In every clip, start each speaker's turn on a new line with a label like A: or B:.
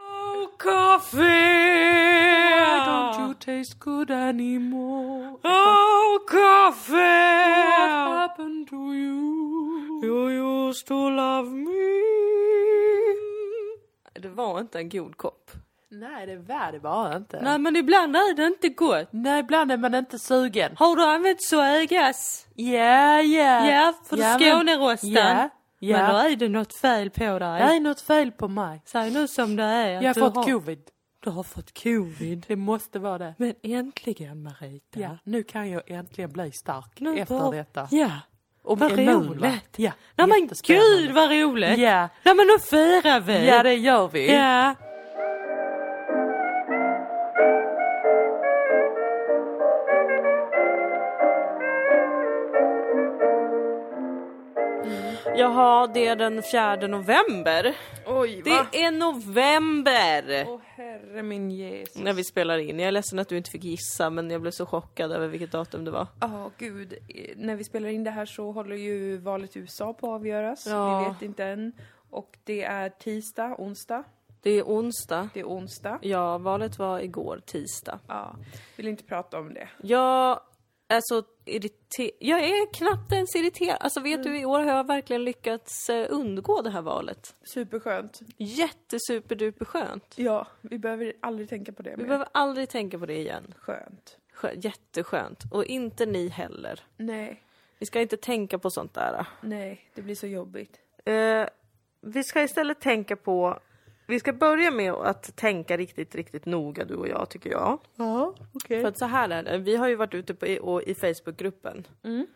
A: Oh, coffee.
B: Why don't you taste good anymore?
A: Oh,
B: What
A: coffee.
B: happened to you?
A: You used to love me. Det var inte en god kopp.
B: Nej, det var det bara inte.
A: Nej men ibland är det inte gott.
B: Nej, ibland är man inte sugen.
A: Har du använt sågas?
B: Ja, ja.
A: Ja, för du
B: men-
A: Skånerostan.
B: Ja,
A: Men då
B: ja.
A: är det något fel på dig.
B: Det är något fel på mig.
A: Säg nu som det är. att
B: Jag har
A: du
B: fått
A: har...
B: covid.
A: Du har fått covid.
B: Det måste vara det.
A: Men äntligen Marita.
B: Ja, nu kan jag äntligen bli stark
A: Nu
B: efter
A: bara-
B: detta.
A: Ja.
B: Och
A: vad
B: immun,
A: roligt.
B: va? Ja,
A: Nej men
B: jättespännande.
A: gud vad roligt.
B: Ja.
A: Nej men nu firar vi.
B: Ja, det gör vi.
A: Ja. Jag har Mm. det den 4 november.
B: Oj,
A: Det är november!
B: Åh herre min Jesus.
A: När vi spelar in. Jag är ledsen att du inte fick gissa men jag blev så chockad över vilket datum det var.
B: Åh gud, Eh, när vi spelar in det här så håller ju valet i USA på att avgöras.
A: Ja.
B: Vi vet inte än. Och det är tisdag, onsdag.
A: Det är onsdag.
B: Det är onsdag.
A: Ja, valet var igår tisdag.
B: Ja, vill inte prata om det.
A: Jag är så irriterad. Jag är knappt ens irriterad. Alltså vet du, i år har jag verkligen lyckats eh, undgå det här valet.
B: Superskönt.
A: Jättesuperduper skönt.
B: Ja, vi behöver aldrig tänka på det
A: Vi
B: mer.
A: behöver aldrig tänka på det igen.
B: Skönt.
A: Skö- jätteskönt. Och inte ni heller.
B: Nej,
A: Vi ska inte tänka på sånt där.
B: nej, det blir så jobbigt.
A: Eh, vi ska istället tänka på... Vi ska börja med att tänka riktigt, riktigt noga du och jag tycker jag.
B: Ja, okej.
A: För att så här är det, vi har ju varit ute på, i, och, i Facebookgruppen
B: Mm.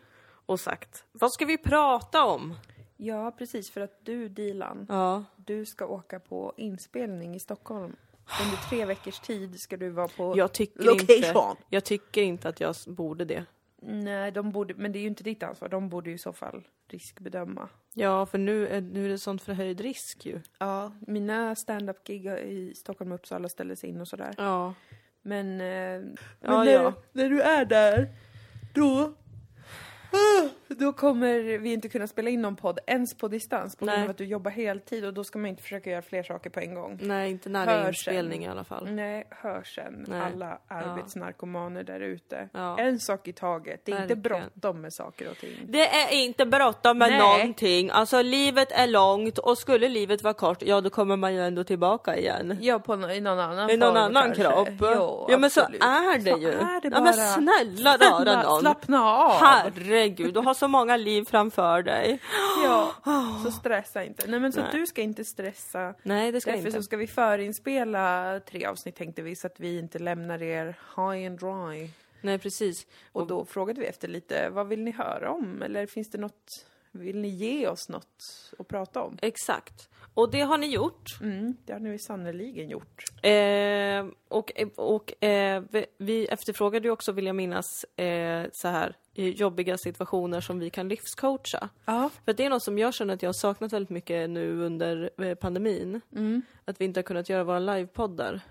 A: och sagt vad ska vi prata om?
B: Ja, precis. För att du, Dilan,
A: Ja.
B: du ska åka på inspelning i Stockholm. Under tre veckors tid ska du vara på...
A: Jag tycker,
B: Location.
A: inte, jag tycker inte att jag s- borde det.
B: Nej, de borde... Men det är ju inte ditt ansvar. De borde ju i så fall riskbedöma.
A: Ja, för nu är, nu är det sånt förhöjd risk ju.
B: Ja, mina stand-up-gig i Stockholm och Uppsala ställdes in och sådär.
A: Ja.
B: Men... Eh,
A: Ja,
B: när,
A: ja.
B: när du är där, då... ah, Då kommer vi inte kunna spela in någon podd ens på distans på grund
A: Nej.
B: av att du jobbar heltid och då ska man inte försöka göra fler saker på en gång.
A: Nej, inte nära
B: Hör
A: inspelning
B: sen.
A: i alla fall.
B: Nej, hör sen
A: Mm. Nej.
B: alla arbetsnarkomaner där ute.
A: Ja.
B: En sak i taget, det är inte
A: Verkligen.
B: bråttom med saker och ting.
A: Det är inte bråttom med
B: Nej.
A: någonting. Alltså livet är långt och skulle livet vara kort, ja då kommer man ju ändå tillbaka igen.
B: Ja, på nå- i någon annan
A: I någon
B: form
A: annan
B: kanske.
A: kropp.
B: Jo,
A: ja men så
B: absolut.
A: är det
B: Så
A: ju.
B: är det
A: ja, men
B: bara.
A: snälla rara
B: Snälla,
A: någon.
B: slappna av!
A: Herregud, du har så många liv framför dig.
B: Ja, så stressa inte. Nej men så
A: Ah. Nej.
B: du ska inte stressa.
A: Nej, det ska jag
B: Därför
A: inte.
B: så ska vi förinspela tre avsnitt tänkte vi så att vi inte lämnar er high and dry.
A: Nej, precis.
B: Och då frågade vi efter lite, vad vill ni höra om? Eller finns det något, vill ni ge oss något att prata om?
A: Exakt. Och det har ni gjort.
B: Mm, det har ni sannerligen gjort.
A: Eh, och och eh, vi- vi efterfrågade ju också, vill jag minnas, eh, så här eh, jobbiga situationer som vi kan livscoacha.
B: Ja.
A: För att det är något som jag känner att jag har saknat väldigt mycket nu under eh, pandemin.
B: Mm.
A: Att vi inte har kunnat göra våra livepoddar.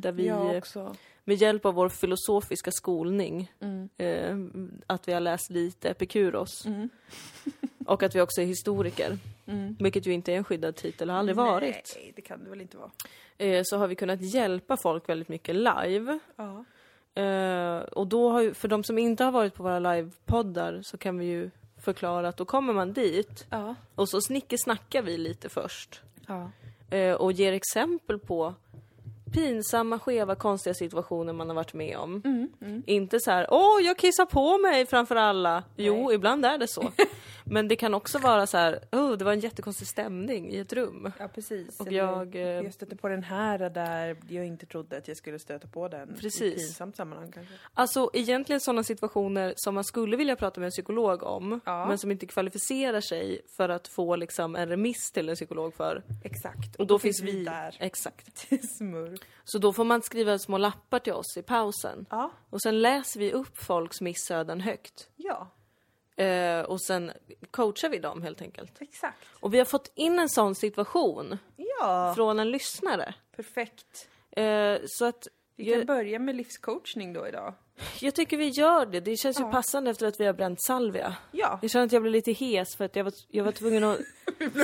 A: Där vi
B: Jag
A: eh,
B: också.
A: med hjälp av vår filosofiska skolning,
B: Mm.
A: eh, att vi har läst lite Epikuros. och att vi också är historiker. Vilket ju inte är en skyddad titel, har aldrig varit.
B: Mm. Nej, det kan det väl inte vara.
A: Eh, så har vi kunnat hjälpa folk väldigt mycket live.
B: Ja.
A: Eh, och då har ju, för de som inte har varit på våra livepoddar så kan vi ju förklara att då kommer man dit
B: Ja.
A: och så snickesnackar vi lite först.
B: Ja.
A: Eh, och ger exempel på pinsamma, skeva, konstiga situationer man har varit med om. Inte så här, åh jag kissar på mig framför alla. Jo, ibland är det så. Men det kan också vara så här, åh det var en jättekonstig stämning i ett rum.
B: Ja precis.
A: Och
B: Eller,
A: jag, eh,
B: jag stötte på den här där jag inte trodde att jag skulle stöta på den. I
A: Precis.
B: ett pinsamt sammanhang kanske.
A: Alltså egentligen sådana situationer som man skulle vilja prata med en psykolog om,
B: Ja.
A: men som inte kvalificerar sig för att få liksom en remiss till en psykolog för.
B: Exakt.
A: Och då, finns vi
B: där.
A: Exakt.
B: Smurf.
A: Så då får man skriva små lappar till oss i pausen.
B: Ja.
A: Och sen läser vi upp folks missöden högt.
B: Ja,
A: Eh, och sen coachar vi dem helt enkelt.
B: exakt.
A: Och vi har fått in en sån situation
B: Ja,
A: från en lyssnare.
B: perfekt.
A: Eh, så att
B: Vi kan
A: jag,
B: börja med livscoachning då idag.
A: jag tycker vi gör det. Det känns ju passande efter att vi har bränt salvia.
B: Ja.
A: Jag känner att jag blev lite hes för att jag var, jag var tvungen att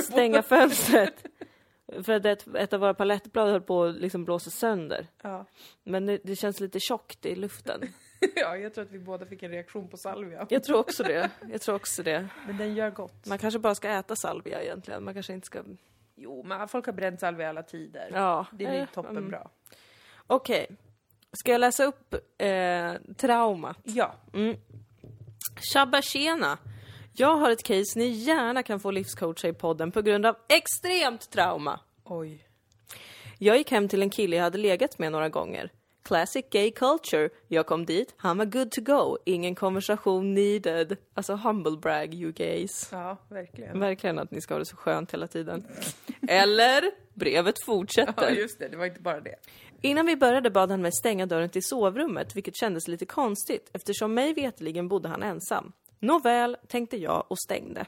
A: stänga fönstret. För att ett, ett av våra palettblad höll på att liksom blåsa sönder.
B: Ja.
A: Men det, det känns lite tjockt i luften.
B: ja, jag tror att vi båda fick en reaktion på salvia.
A: Jag tror också det. Jag tror också det.
B: Men den gör gott.
A: Man kanske bara ska äta salvia egentligen. Man kanske inte ska...
B: Jo, men folk har bränt salvia i alla tider.
A: Ja. eh, mm.
B: Det blir toppenbra.
A: Okej. Ska jag läsa upp eh, trauma?
B: Ja.
A: Tjabba tjena! Jag har ett case ni gärna kan få livscoacha i podden på grund av extremt trauma.
B: Oj.
A: Jag gick hem till en kille jag hade legat med några gånger. Classic gay culture. Jag kom dit, han var good to go. Ingen konversation needed. Alltså humble brag you gays.
B: Ja, verkligen.
A: Verkligen att ni ska ha det så skönt hela tiden. Eller? Brevet
B: Ja,
A: fortsätter.
B: just det. Det var inte bara det.
A: Innan vi började bad han mig stänga dörren till sovrummet, vilket kändes lite konstigt eftersom mig veteligen bodde han ensam. Nåväl, tänkte jag och stängde.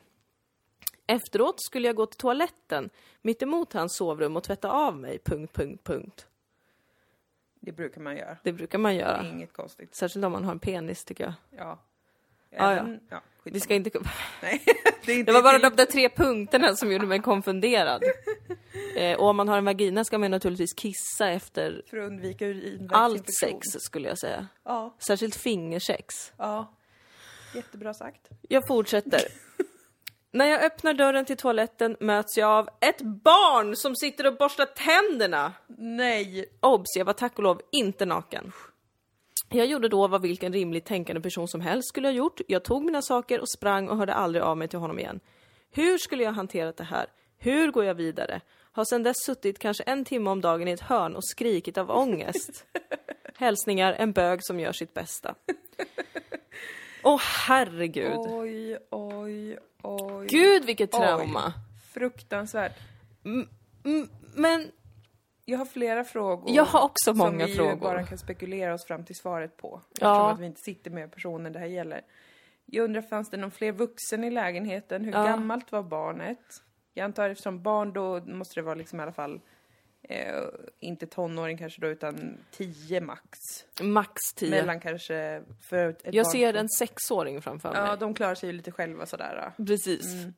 A: Efteråt skulle jag gå till toaletten mitt emot hans sovrum och tvätta av mig, punkt, punkt, punkt.
B: Det brukar man göra.
A: Det brukar man
B: Det
A: göra.
B: är inget konstigt.
A: Särskilt om man har en penis tycker jag.
B: Ja.
A: Ah, Ja, ja.
B: Även- ja. skitsamma.
A: Vi ska inte...
B: Nej, det är inte
A: Det var bara
B: det är
A: de där tre punkterna som gjorde mig konfunderad. Eh, och om man har en vagina ska man naturligtvis kissa efter
B: för att undvika urinvägsinfektion.
A: allt sex skulle jag säga.
B: Ja,
A: Särskilt fingersex.
B: ja. Jättebra sagt.
A: Jag fortsätter. När jag öppnar dörren till toaletten möts jag av ett barn som sitter och borstar tänderna.
B: Nej!
A: Obs, jag var tack och lov inte naken. Jag gjorde då vad vilken rimligt tänkande person som helst skulle ha gjort. Jag tog mina saker och sprang och hörde aldrig av mig till honom igen. Hur skulle jag hantera det här? Hur går jag vidare? Har sedan dess suttit kanske en timme om dagen i ett hörn och skrikit av ångest. Hälsningar, en bög som gör sitt bästa. Åh herregud.
B: Oj, oj, oj.
A: Gud vilket
B: Oj.
A: trauma!
B: Fruktansvärt.
A: Mm, men
B: Jag har flera frågor.
A: jag har också många
B: som vi ju
A: frågor.
B: bara kan spekulera oss fram till svaret på. Eftersom
A: Ja.
B: att vi inte sitter med personen det här gäller. Jag undrar, fanns det någon fler vuxen i lägenheten? Hur
A: Ja.
B: gammalt var barnet? Jag antar eftersom barn då måste det vara liksom i alla fall eh, inte tonåring kanske då utan 10 max.
A: Max 10.
B: Mellan kanske för ett barn-
A: Jag ser en sexåring framför
B: Ja,
A: mig.
B: de klarar sig ju lite själva sådär. då.
A: Precis. Mm,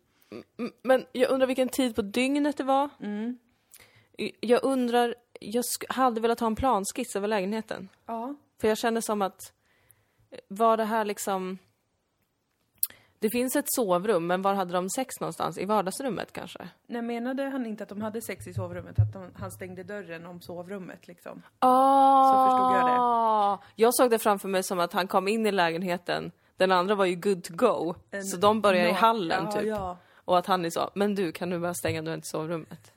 A: Men jag undrar vilken tid på dygnet det var.
B: Mm.
A: I- Jag undrar, jag sk- hade velat ha en planskiss över lägenheten.
B: Ja.
A: För jag känner som att, eh, var det här liksom... Det finns ett sovrum, men var hade de sex någonstans? I vardagsrummet kanske?
B: När menade han inte att de hade sex i sovrummet? Att de, han stängde dörren om sovrummet liksom?
A: Ah,
B: förstod jag
A: Jag såg det framför mig som att han kom in i lägenheten, den andra var ju good to go,
B: En-
A: så de började i
B: Ja,
A: hallen
B: ja,
A: typ.
B: Ja.
A: Och att han sa, men du kan du bara stänga dörren till sovrummet?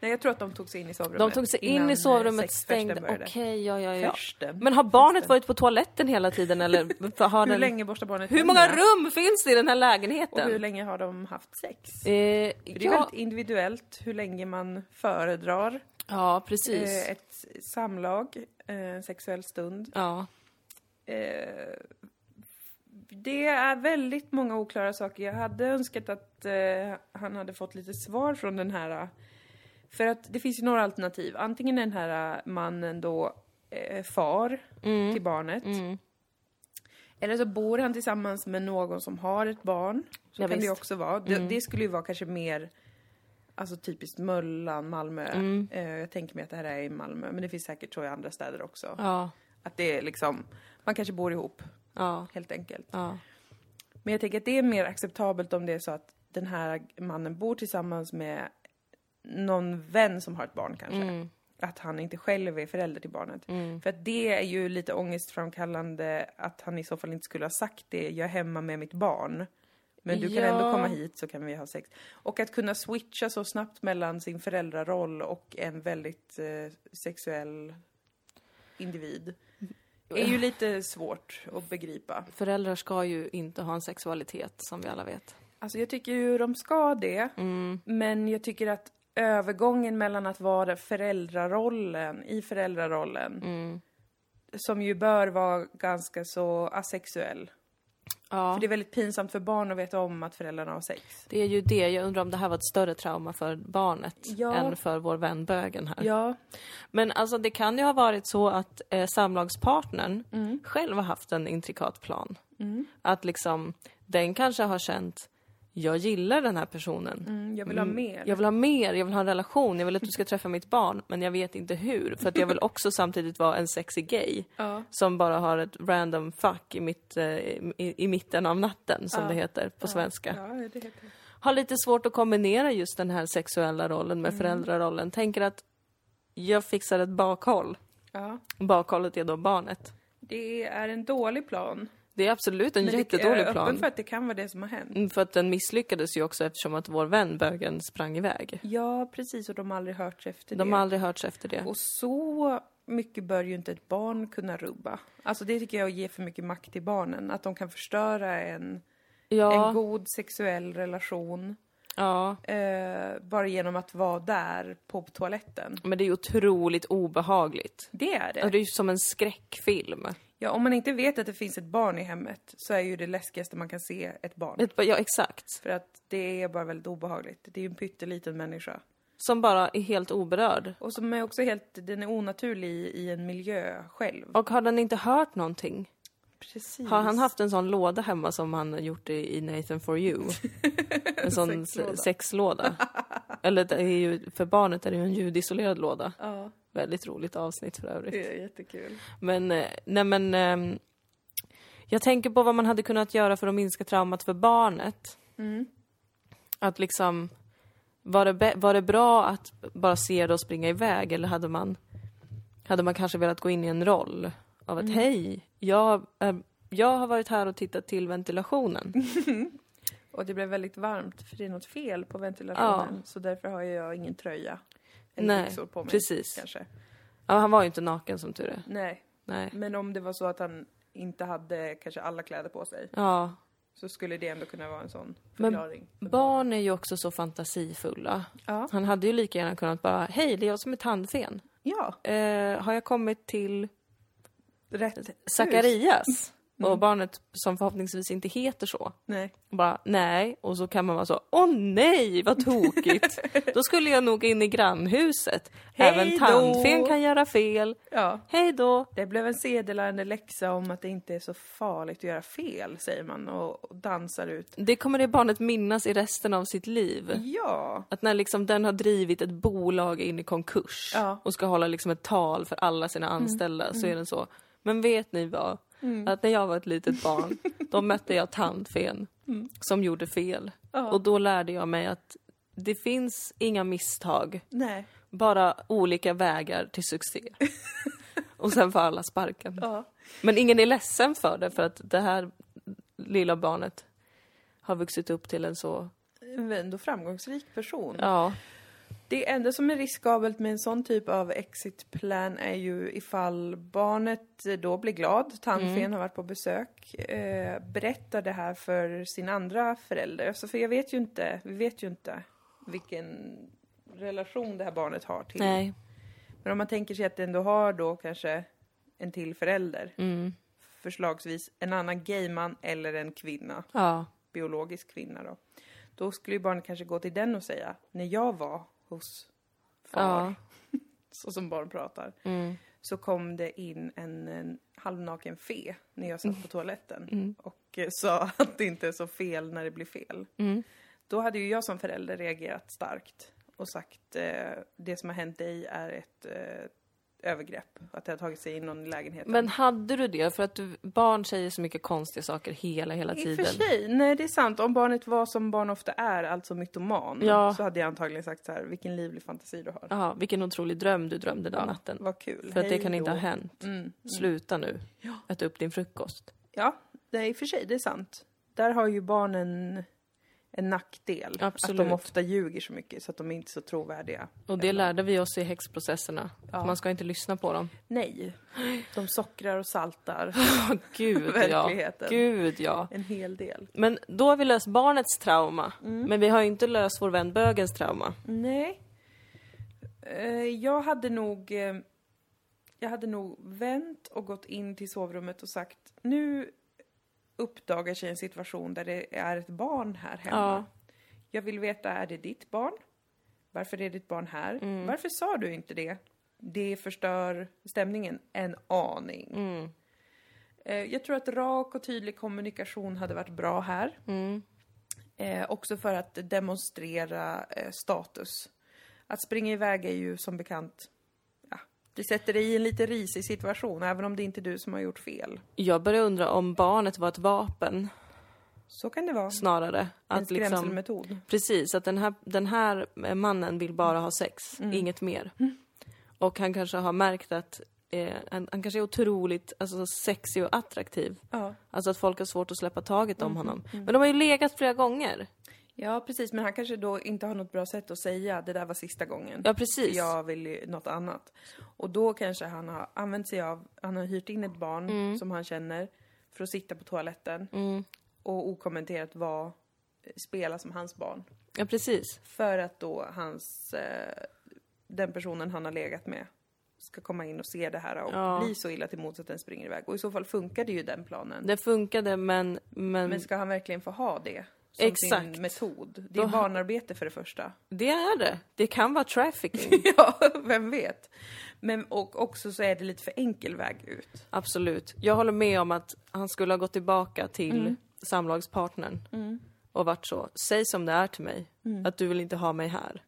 B: Nej, jag tror att de tog sig in i sovrummet.
A: De tog sig in
B: innan,
A: i
B: eh,
A: sovrummet,
B: sexfesten
A: stängde, okej,
B: började.
A: ja, ja, ja.
B: Försten.
A: Men har barnet
B: Festen.
A: varit på toaletten hela tiden eller? för- Har
B: Hur
A: den...
B: länge borstar barnet
A: hur många
B: tänderna?
A: rum finns det i den här
B: Och hur
A: lägenheten?
B: länge har de haft sex?
A: Eh,
B: För Det är
A: ja,
B: väldigt individuellt hur länge man föredrar
A: ja,
B: eh,
A: precis.
B: ett samlag, eh, en sexuell stund.
A: Ja.
B: Eh, det är väldigt många oklara saker. Jag hade önskat att eh, han hade fått lite svar från den här. eh, För att det finns ju några alternativ. Antingen är den här eh, mannen då eh, far
A: Mm.
B: till barnet. Eller så bor han tillsammans med någon som har ett barn. Så kan
A: Ja,
B: det ju
A: visst. Mm.
B: också vara. Det, det skulle ju vara kanske mer Alltså typiskt Möllan, Malmö.
A: Mm.
B: Eh, jag tänker mig att det här är i Malmö, men det finns säkert så i andra städer också.
A: Ja.
B: Att det är liksom, man kanske bor ihop
A: Ja.
B: helt enkelt.
A: Ja.
B: Men jag tänker att det är mer acceptabelt om det är så att den här mannen bor tillsammans med någon vän som har ett barn kanske. Att han inte själv är förälder till barnet. För att det är ju lite ångestframkallande att han i så fall inte skulle ha sagt det, jag är hemma med mitt barn. Men du kan
A: Ja.
B: ändå komma hit så kan vi ha sex. Och att kunna switcha så snabbt mellan sin föräldraroll och en väldigt eh, sexuell individ. är ju lite svårt att begripa.
A: Föräldrar ska ju inte ha en sexualitet som vi alla vet.
B: Alltså jag tycker ju de ska det.
A: Mm.
B: Men jag tycker att övergången mellan att vara föräldrarollen, i föräldrarollen,
A: Mm.
B: som ju bör vara ganska så asexuell.
A: Ja.
B: För det är väldigt pinsamt för barn att veta om att föräldrarna har sex.
A: Det är ju det, jag undrar om det här var ett större trauma för barnet
B: Ja.
A: än för vår vän bögen här.
B: Ja,
A: Men alltså det kan ju ha varit så att eh, samlagspartnern
B: Mm.
A: själv har haft en intrikat plan. Att liksom, den kanske har känt jag gillar den här personen.
B: Mm, jag vill ha mer.
A: Jag vill ha mer, jag vill ha en relation, jag vill att du ska träffa mitt barn, men jag vet inte hur. För att jag vill också samtidigt vara en sexy gay
B: Ja.
A: som bara har ett random fuck i, mitt, eh, i, i mitten av natten, som
B: Ja.
A: det heter på svenska.
B: Ja, det heter det.
A: Har lite svårt att kombinera just den här sexuella rollen med
B: Mm.
A: föräldrarollen. Tänker att jag fixar ett bakhåll.
B: Ja.
A: Bakhållet är då barnet.
B: Det är en dålig plan.
A: Det är absolut en
B: Men
A: jättedålig
B: Jag är
A: plan.
B: öppen för att det kan vara det som har hänt.
A: Mm, För att den misslyckades ju också eftersom att vår vän bögen sprang iväg.
B: Ja, precis. Och de har aldrig hört efter
A: De
B: det.
A: har aldrig hörts efter det.
B: Och så mycket bör ju inte ett barn kunna rubba. Alltså det tycker jag är att ge för mycket makt till barnen. Att de kan förstöra en, en
A: Ja,
B: god sexuell relation
A: ja.
B: eh, bara genom att vara där på toaletten.
A: Men det är ju otroligt obehagligt.
B: Det är
A: Och
B: det.
A: det är ju som en skräckfilm.
B: Ja, om man inte vet att det finns ett barn i hemmet så är ju det läskigaste man kan se ett barn.
A: Vet du vad- Ja, exakt.
B: För att det är bara väldigt obehagligt. Det är ju en pytteliten människa.
A: Som bara är helt oberörd.
B: Och som är också helt, den är onaturlig i, i en miljö själv.
A: Och har den inte hört någonting?
B: Precis.
A: Har han haft en sån låda hemma som han gjort i i Nathan for you? En sån
B: Sexlåda.
A: sexlåda. sexlåda. Eller det är ju, för barnet är det ju en ljudisolerad låda.
B: Ja,
A: Väldigt roligt avsnitt för övrigt.
B: det är jättekul.
A: Men, eh, nej men... ehm, jag tänker på vad man hade kunnat göra för att minska traumat för barnet.
B: Mm.
A: Att liksom... Var det, bä- var det bra att bara se det och springa iväg eller hade man, hade man kanske velat gå in i en roll av att hej, jag, är- jag har varit här och tittat till ventilationen.
B: Och det blev väldigt varmt för det är något fel på ventilationen. Så därför har jag ingen tröja. Eller
A: Nej,
B: byxor på mig.
A: precis.
B: Kanske.
A: Ja, han var ju inte naken som tur är.
B: Nej,
A: Nej.
B: men om det var så att han inte hade kanske alla kläder på sig
A: Ja.
B: så skulle det ändå kunna vara en sån
A: Men
B: förklaring. för barnet.
A: Barn är ju också så fantasifulla.
B: Ja.
A: Han hade ju lika gärna kunnat bara, hej, det är jag som är tandfen.
B: ja,
A: Eh, har jag kommit till
B: rätt hus.
A: Sakarias och barnet som förhoppningsvis inte heter så.
B: Nej.
A: Bara nej och så kan man vara så åh nej vad tokigt. Då skulle jag nog in i grannhuset.
B: Hej
A: Även
B: då!
A: tandfen kan göra fel.
B: Ja.
A: Hej då.
B: Det blev en sedelärande läxa om att det inte är så farligt att göra fel, säger man och och dansar ut.
A: Det kommer det barnet minnas i resten av sitt liv.
B: Ja,
A: Att när liksom den har drivit ett bolag in i konkurs
B: Ja. Mm.
A: och ska hålla liksom ett tal för alla sina anställda så är den så. Men vet ni vad? Att när jag var ett litet barn då mötte jag tandfen
B: Mm.
A: som gjorde fel. Och då lärde jag mig att det finns inga misstag,
B: nej.
A: bara olika vägar till succé. och sen får alla sparken.
B: Ja.
A: Men ingen är ledsen för det för att det här lilla barnet har vuxit upp till en så,
B: En ändå framgångsrik person.
A: ja,
B: Det enda som är riskabelt med en sån typ av exit plan är ju ifall barnet då blir glad, tandfen
A: Mm.
B: har varit på besök, eh, berättar det här för sin andra förälder. Alltså, för jag vet ju inte, vi vet ju inte vilken relation det här barnet har till
A: nej.
B: Men om man tänker sig att den då har då kanske en till förälder. Förslagsvis en annan gayman eller en kvinna,
A: Ja.
B: biologisk kvinna då. Då skulle ju barnet kanske gå till den och säga, när jag var hos far, Mm.
A: Ja.
B: så som barn pratar, så kom det in en, en halvnaken fe när jag
A: Mm.
B: satt på toaletten och eh, sa att det inte är så fel när det blir fel.
A: Mm.
B: Då hade ju jag som förälder reagerat starkt och sagt eh, det som har hänt dig är ett eh, övergrepp. Att det har tagit sig in någon i lägenheten.
A: Men hade du det? För att du, barn säger så mycket konstiga saker hela, hela
B: I och för
A: tiden.
B: sig, nej det är sant. Om barnet var som barn ofta är, alltså mytoman,
A: Ja.
B: så hade jag antagligen sagt så här, vilken livlig fantasi du har.
A: Jaha, vilken otrolig dröm du drömde den natten.
B: Vad kul.
A: För att det
B: Hej
A: kan inte
B: då. Mm.
A: ha hänt. Sluta nu. Ät upp din frukost.
B: Ja, nej, i och för sig, det är sant. Där har ju barnen en nackdel.
A: Absolut.
B: Att de ofta ljuger så mycket så att de är inte är så trovärdiga.
A: Och det lärde vi oss i häxprocesserna. Att man ska inte lyssna på dem.
B: Nej, de sockrar och saltar
A: Åh, Gud ja.
B: Verkligheten.
A: Gud ja.
B: en hel del.
A: Men då har vi löst barnets
B: Mm.
A: trauma. Men vi har ju inte löst vår vän bögens trauma.
B: Nej. Eh, Jag hade nog... eh, Jag hade nog vänt och gått in till sovrummet och sagt nu uppdagar sig en situation där det är ett barn här hemma. Jag vill veta, är det ditt barn? Varför är ditt barn här? Varför sa du inte det? Det förstör stämningen en aning.
A: Mm. Mm.
B: Eh, Jag tror att rak och tydlig kommunikation hade varit bra här. Eh, också för att demonstrera eh, status. Att springa iväg är ju som bekant, ja, det sätter dig i en lite risig situation även om det inte är du som har gjort fel.
A: Jag börjar undra om barnet var ett vapen
B: Så kan det vara.
A: snarare.
B: En
A: Att liksom,
B: skrämselmetod.
A: precis, att den här, den här eh, mannen vill bara ha sex,
B: Mm.
A: inget mer. Och han kanske har märkt att eh, han, han kanske är otroligt alltså, sexig och attraktiv.
B: Ja.
A: Alltså att folk har svårt att släppa taget
B: Mm.
A: om honom. Men de har ju legat flera gånger.
B: ja, precis. Men han kanske då inte har något bra sätt att säga det där var sista gången.
A: Ja, precis.
B: Jag vill ju något annat. Och då kanske han har använt sig av, han har hyrt in ett barn
A: Mm.
B: som han känner för att sitta på toaletten och okommenterat vara, spela som hans barn.
A: Ja, precis.
B: För att då hans, eh, den personen han har legat med ska komma in och se det här och
A: Ja.
B: bli så illa till mods att den springer iväg. Och i så fall funkar det ju den planen.
A: Det funkade men, men,
B: Men ska han verkligen få ha det? Som
A: Exakt.
B: sin metod. Det är barnarbete för det första.
A: det är det. Det kan vara trafficking.
B: ja, vem vet? Men och också så är det lite för enkel väg ut.
A: Absolut. Jag håller med om att han skulle ha gått tillbaka till samlagspartnern och varit så. Säg som det är till mig, att du vill inte ha mig här.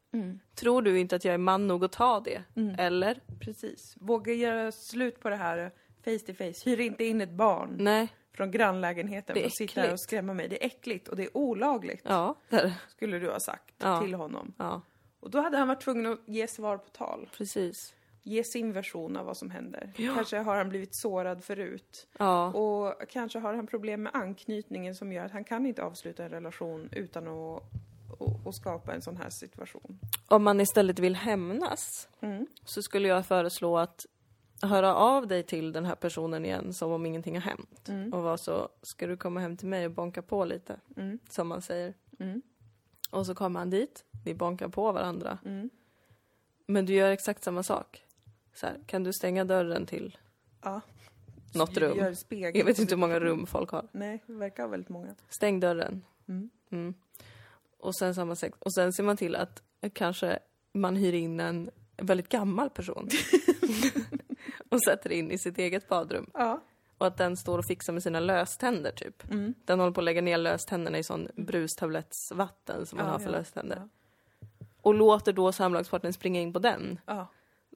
A: Tror du inte att jag är man nog att ta det? Eller?
B: Precis. Våga göra slut på det här face to face. Hyr inte in ett barn
A: Nej.
B: från grannlägenheten
A: Mm. Det är
B: för att sitta här och
A: äckligt.
B: skrämma mig. Det är äckligt och det är olagligt,
A: Ja, det är det.
B: skulle du ha sagt
A: Ja.
B: till honom.
A: Ja,
B: Och då hade han varit tvungen att ge svar på tal.
A: precis.
B: Ge sin version av vad som händer. Kanske har han blivit sårad förut.
A: Ja.
B: Och kanske har han problem med anknytningen som gör att han kan inte avsluta en relation utan att, att, att skapa en sån här situation.
A: Om man istället vill hämnas så skulle jag föreslå att höra av dig till den här personen igen som om ingenting har hänt. Och vara så, ska du komma hem till mig och bonka på lite?
B: Mm.
A: Som man säger. Och så kommer han dit, vi bonkar på varandra. Men du gör exakt samma sak. Så här, kan du stänga dörren till
B: Ja.
A: något
B: Gör
A: rum?
B: en spegel.
A: Jag vet inte hur många rum folk har.
B: Nej, det verkar ha väldigt många.
A: Stäng dörren. Mm. Och sen samma sex. Och sen ser man till att kanske man hyr in en väldigt gammal person. och sätter in i sitt eget badrum.
B: Ja.
A: Och att den står och fixar med sina löständer typ.
B: Mm.
A: Den håller på att lägga ner löständerna i sån brustablettsvatten som man
B: Ja,
A: har för
B: ja,
A: löständer.
B: ja.
A: Och låter då samlagspartnern springa in på den
B: Ja.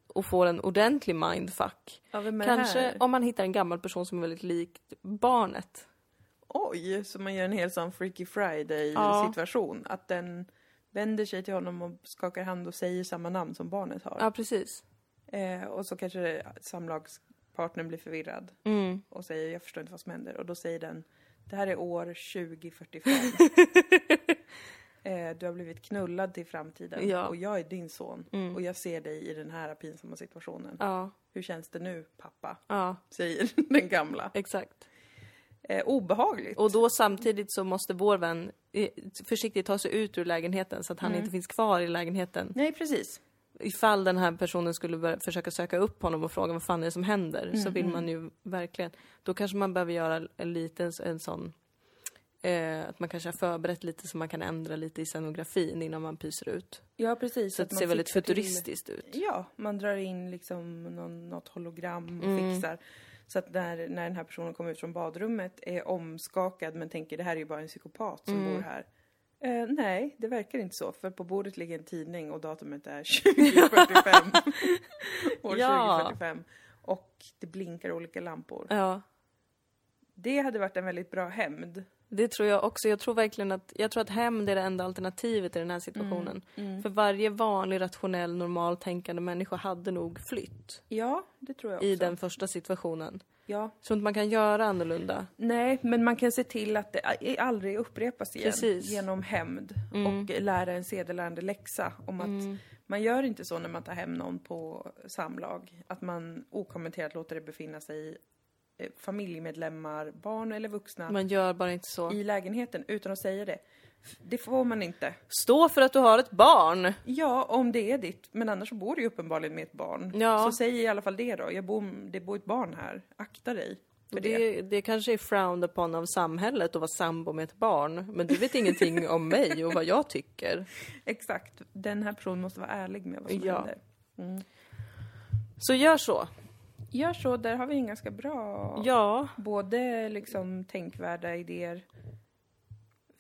A: och får en ordentlig mindfuck.
B: ja vem är
A: Kanske
B: det här?
A: om man hittar en gammal person som är väldigt lik barnet.
B: Oj, så man gör en hel sån Freaky
A: Ja.
B: Friday-situation. Att den vänder sig till honom och skakar hand och säger samma namn som barnet har.
A: Ja, precis.
B: Eh, och så kanske det- samlagspartnern blir förvirrad
A: Mm.
B: och säger jag förstår inte vad som händer. Och då säger den det här är år 2045. eh, du har blivit knullad till framtiden
A: Ja. Mm.
B: och jag är din son och jag ser dig i den här pinsamma situationen.
A: Ja,
B: Hur känns det nu pappa?
A: ja,
B: Säger den gamla.
A: exakt.
B: Eh, obehagligt.
A: Och då samtidigt så måste vår vän eh, försiktigt ta sig ut ur lägenheten så att
B: Mm.
A: han inte finns kvar i lägenheten.
B: Nej precis.
A: Ifall den här personen skulle börja försöka söka upp honom och fråga vad fan är det som händer så vill man ju verkligen. Då kanske man behöver göra en liten en sån eh, att man kanske har förberett lite så man kan ändra lite i scenografin innan man pyser ut.
B: Ja precis.
A: Så att det ser väldigt futuristiskt ut.
B: Ja, man drar in liksom någon, något hologram och fixar. Så att när, när den här personen kommer ut från badrummet är omskakad men tänker det här är ju bara en psykopat som bor här. Eh, nej, det verkar inte så. För på bordet ligger en tidning och datumet är 2045. År
A: Ja.
B: 2045. Och det blinkar olika lampor.
A: Ja,
B: Det hade varit en väldigt bra hämnd.
A: det tror jag också. Jag tror verkligen att, jag tror att hämnd är det enda alternativet i den här situationen. För varje vanlig, rationell, normal tänkande människa hade nog flytt.
B: Ja, det tror jag också.
A: i den första situationen.
B: Ja.
A: Så att man kan göra annorlunda.
B: Nej, men man kan se till att det a- aldrig upprepas igen
A: Precis. Mm.
B: genom hämnd och lära en sedelärande läxa om att man gör inte så när man tar hem någon på samlag. Att man okommenterat låter det befinna sig eh, familjemedlemmar, barn eller vuxna
A: Man gör bara inte så.
B: i lägenheten utan att säga det. F- Det får man inte.
A: Stå för att du har ett barn!
B: Ja, om det är ditt, men annars så bor du ju uppenbarligen med ett barn.
A: Ja.
B: Så säg i alla fall det då. Jag bor, det bor ett barn här. Akta dig för
A: Och
B: det.
A: det, det kanske är frowned upon av samhället att vara sambo med ett barn. Men du vet ingenting om mig och vad jag tycker.
B: Exakt. Den här personen måste vara ärlig med vad som
A: Ja.
B: händer. Mm.
A: Så gör så.
B: Gör så, där har vi en ganska bra...
A: Ja. eh,
B: Både liksom tänkvärda idéer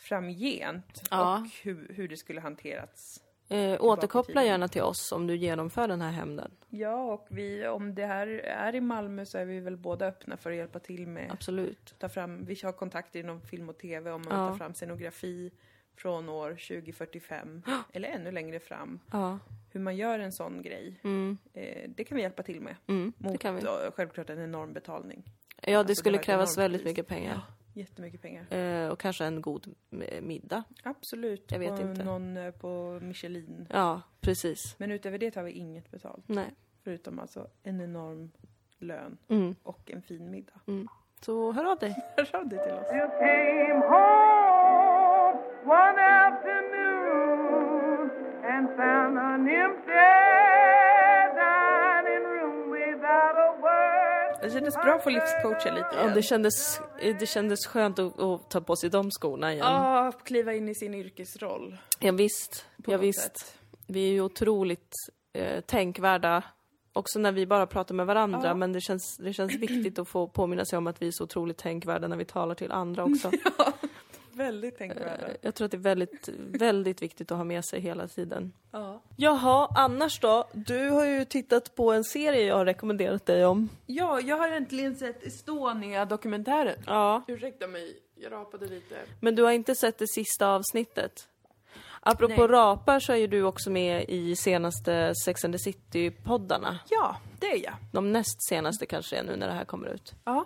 B: framgent
A: Ja.
B: och hur, hur det skulle hanterats.
A: Eh, återkoppla gärna till oss om du genomför den här hämnden.
B: Ja, och vi, om det här är i Malmö så är vi väl båda öppna för att hjälpa till med
A: Absolut.
B: ta fram, vi har kontakter inom film och tv om man
A: Ja.
B: vill ta fram scenografi från år 2045 eller ännu längre fram.
A: Ja.
B: Hur man gör en sån grej.
A: Mm.
B: Eh, det kan vi hjälpa till med.
A: Mm, det
B: Mot
A: kan vi.
B: eh, självklart en enorm betalning.
A: Ja, det
B: Alltså, det
A: skulle
B: var ett
A: krävas
B: enormt
A: väldigt
B: pris.
A: mycket pengar.
B: Jättemycket pengar.
A: Eh, och kanske en god eh, middag.
B: Absolut.
A: Jag vet
B: på
A: inte.
B: Någon eh, på Michelin.
A: Ja, precis.
B: Men utöver det tar vi inget betalt.
A: Nej.
B: Förutom alltså en enorm lön
A: Mm.
B: och en fin middag.
A: Så hör av dig.
B: Hör av dig till oss.
C: You came home one afternoon and found an empty dining room without a word.
B: Det kändes bra att få livscoacha lite
A: Ja,
B: igen.
A: det, kändes, eh, det kändes skönt att, att ta på sig de skorna igen. Ja,
B: Ja, Ah, kliva in i sin yrkesroll.
A: visst.
B: på
A: Ja,
B: något
A: visst.
B: sätt.
A: Vi är ju otroligt eh, tänkvärda. Också när vi bara pratar med varandra,
B: Ja.
A: men det känns, det känns viktigt att få påminna sig om att vi är så otroligt tänkvärda när vi talar till andra också.
B: Väldigt tänkvärda.
A: Jag tror att det är väldigt, väldigt viktigt att ha med sig hela tiden.
B: Ja.
A: Jaha, annars då? Du har ju tittat på en serie jag har rekommenderat dig om.
B: ja, jag har äntligen sett Estonia-dokumentären.
A: Ja.
B: Ursäkta mig, jag rapade lite.
A: Men du har inte sett det sista avsnittet? Apropå
B: Nej.
A: rapar så är ju du också med i senaste Sex and the City-poddarna.
B: Ja, det är jag.
A: De näst senaste kanske är nu när det här kommer ut.
B: Ja.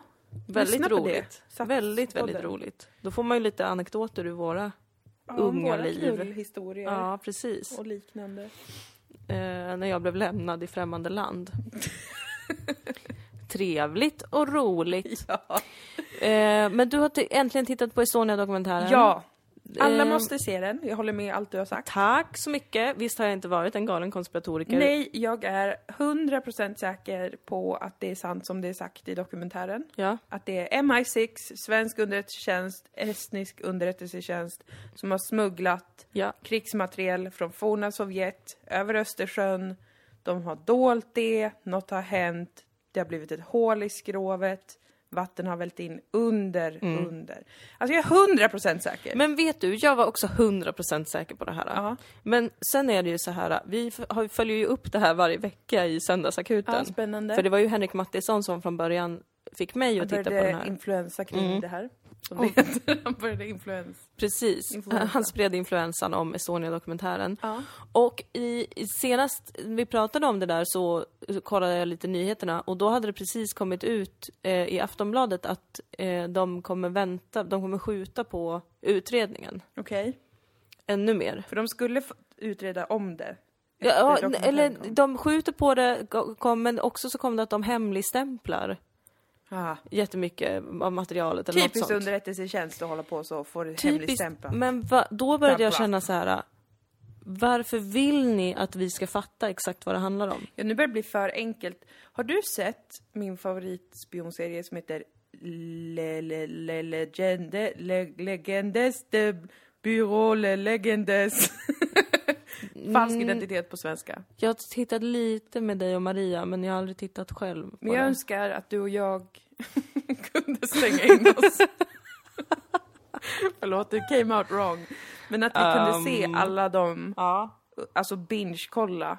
A: Väldigt
B: på det.
A: roligt.
B: Satt
A: Väldigt,
B: på
A: väldigt
B: den.
A: roligt. Då får man ju lite anekdoter ur våra...
B: ja
A: Unga
B: våra
A: liv.
B: Kulhistorier
A: Ja, precis.
B: och liknande.
A: Eh, när jag blev lämnad i främmande land. Trevligt och roligt.
B: Ja.
A: Eh, men du har t- äntligen tittat på Estonia-dokumentären.
B: ja. Alla
A: Eh,
B: måste se den. Jag håller med allt du har sagt.
A: Tack så mycket. Visst har jag inte varit en galen konspiratoriker?
B: Nej, jag är 100% säker på att det är sant som det är sagt i dokumentären.
A: Ja.
B: Att det är MI6, svensk underrättelsetjänst, estnisk underrättelsetjänst som har smugglat
A: Ja.
B: krigsmateriel från forna Sovjet över Östersjön. De har dolt det, något har hänt, det har blivit ett hål i skrovet, vatten har vällt in under,
A: Mm.
B: under. Alltså jag är hundra procent säker.
A: Men vet du, jag var också 100% säker på det här.
B: Ja.
A: Men sen är det ju så här, vi f- har- följer ju upp det här varje vecka i Söndagsakuten.
B: Ja, spännande.
A: För det var ju Henrik Mattisson som från början fick mig att titta på den
B: började
A: här. Mm.
B: influensa kring det här. Som det heter. Han började influens.
A: Precis.
B: Influensa.
A: Han spred influensan om Estonia-dokumentären.
B: Ja.
A: Och i, i- senast vi pratade om det där så så kollade jag lite nyheterna och då hade det precis kommit ut eh, i Aftonbladet att eh, de kommer vänta, de kommer skjuta på utredningen
B: Okej.
A: ännu mer.
B: För de skulle få utreda om det. efter
A: Ja, ja,
B: dokumentären
A: eller
B: kom.
A: de skjuter på det, go- kom, men också så kom det att de hemligstämplar
B: Ah.
A: jättemycket av materialet eller något
B: Typiskt
A: typ sånt.
B: underrättelsetjänst att hålla på så och få det hemligstämplat.
A: men va, då började jag
B: Stämpla.
A: känna så här. Varför vill ni att vi ska fatta exakt vad det handlar om?
B: Ja, nu börjar det bli för enkelt. Har du sett min favoritspionserie som heter Le, le, le, legende, le, legendes de Bureau le legendes? Falsk
A: Mm.
B: identitet på svenska.
A: Jag har tittat lite med dig och Maria, men jag har aldrig tittat själv. På
B: Men jag
A: den.
B: önskar att du och jag kunde stänga in oss. Förlåt, det came out wrong. Ehm, Men att vi kunde se alla de,
A: Ja.
B: alltså binge-kolla.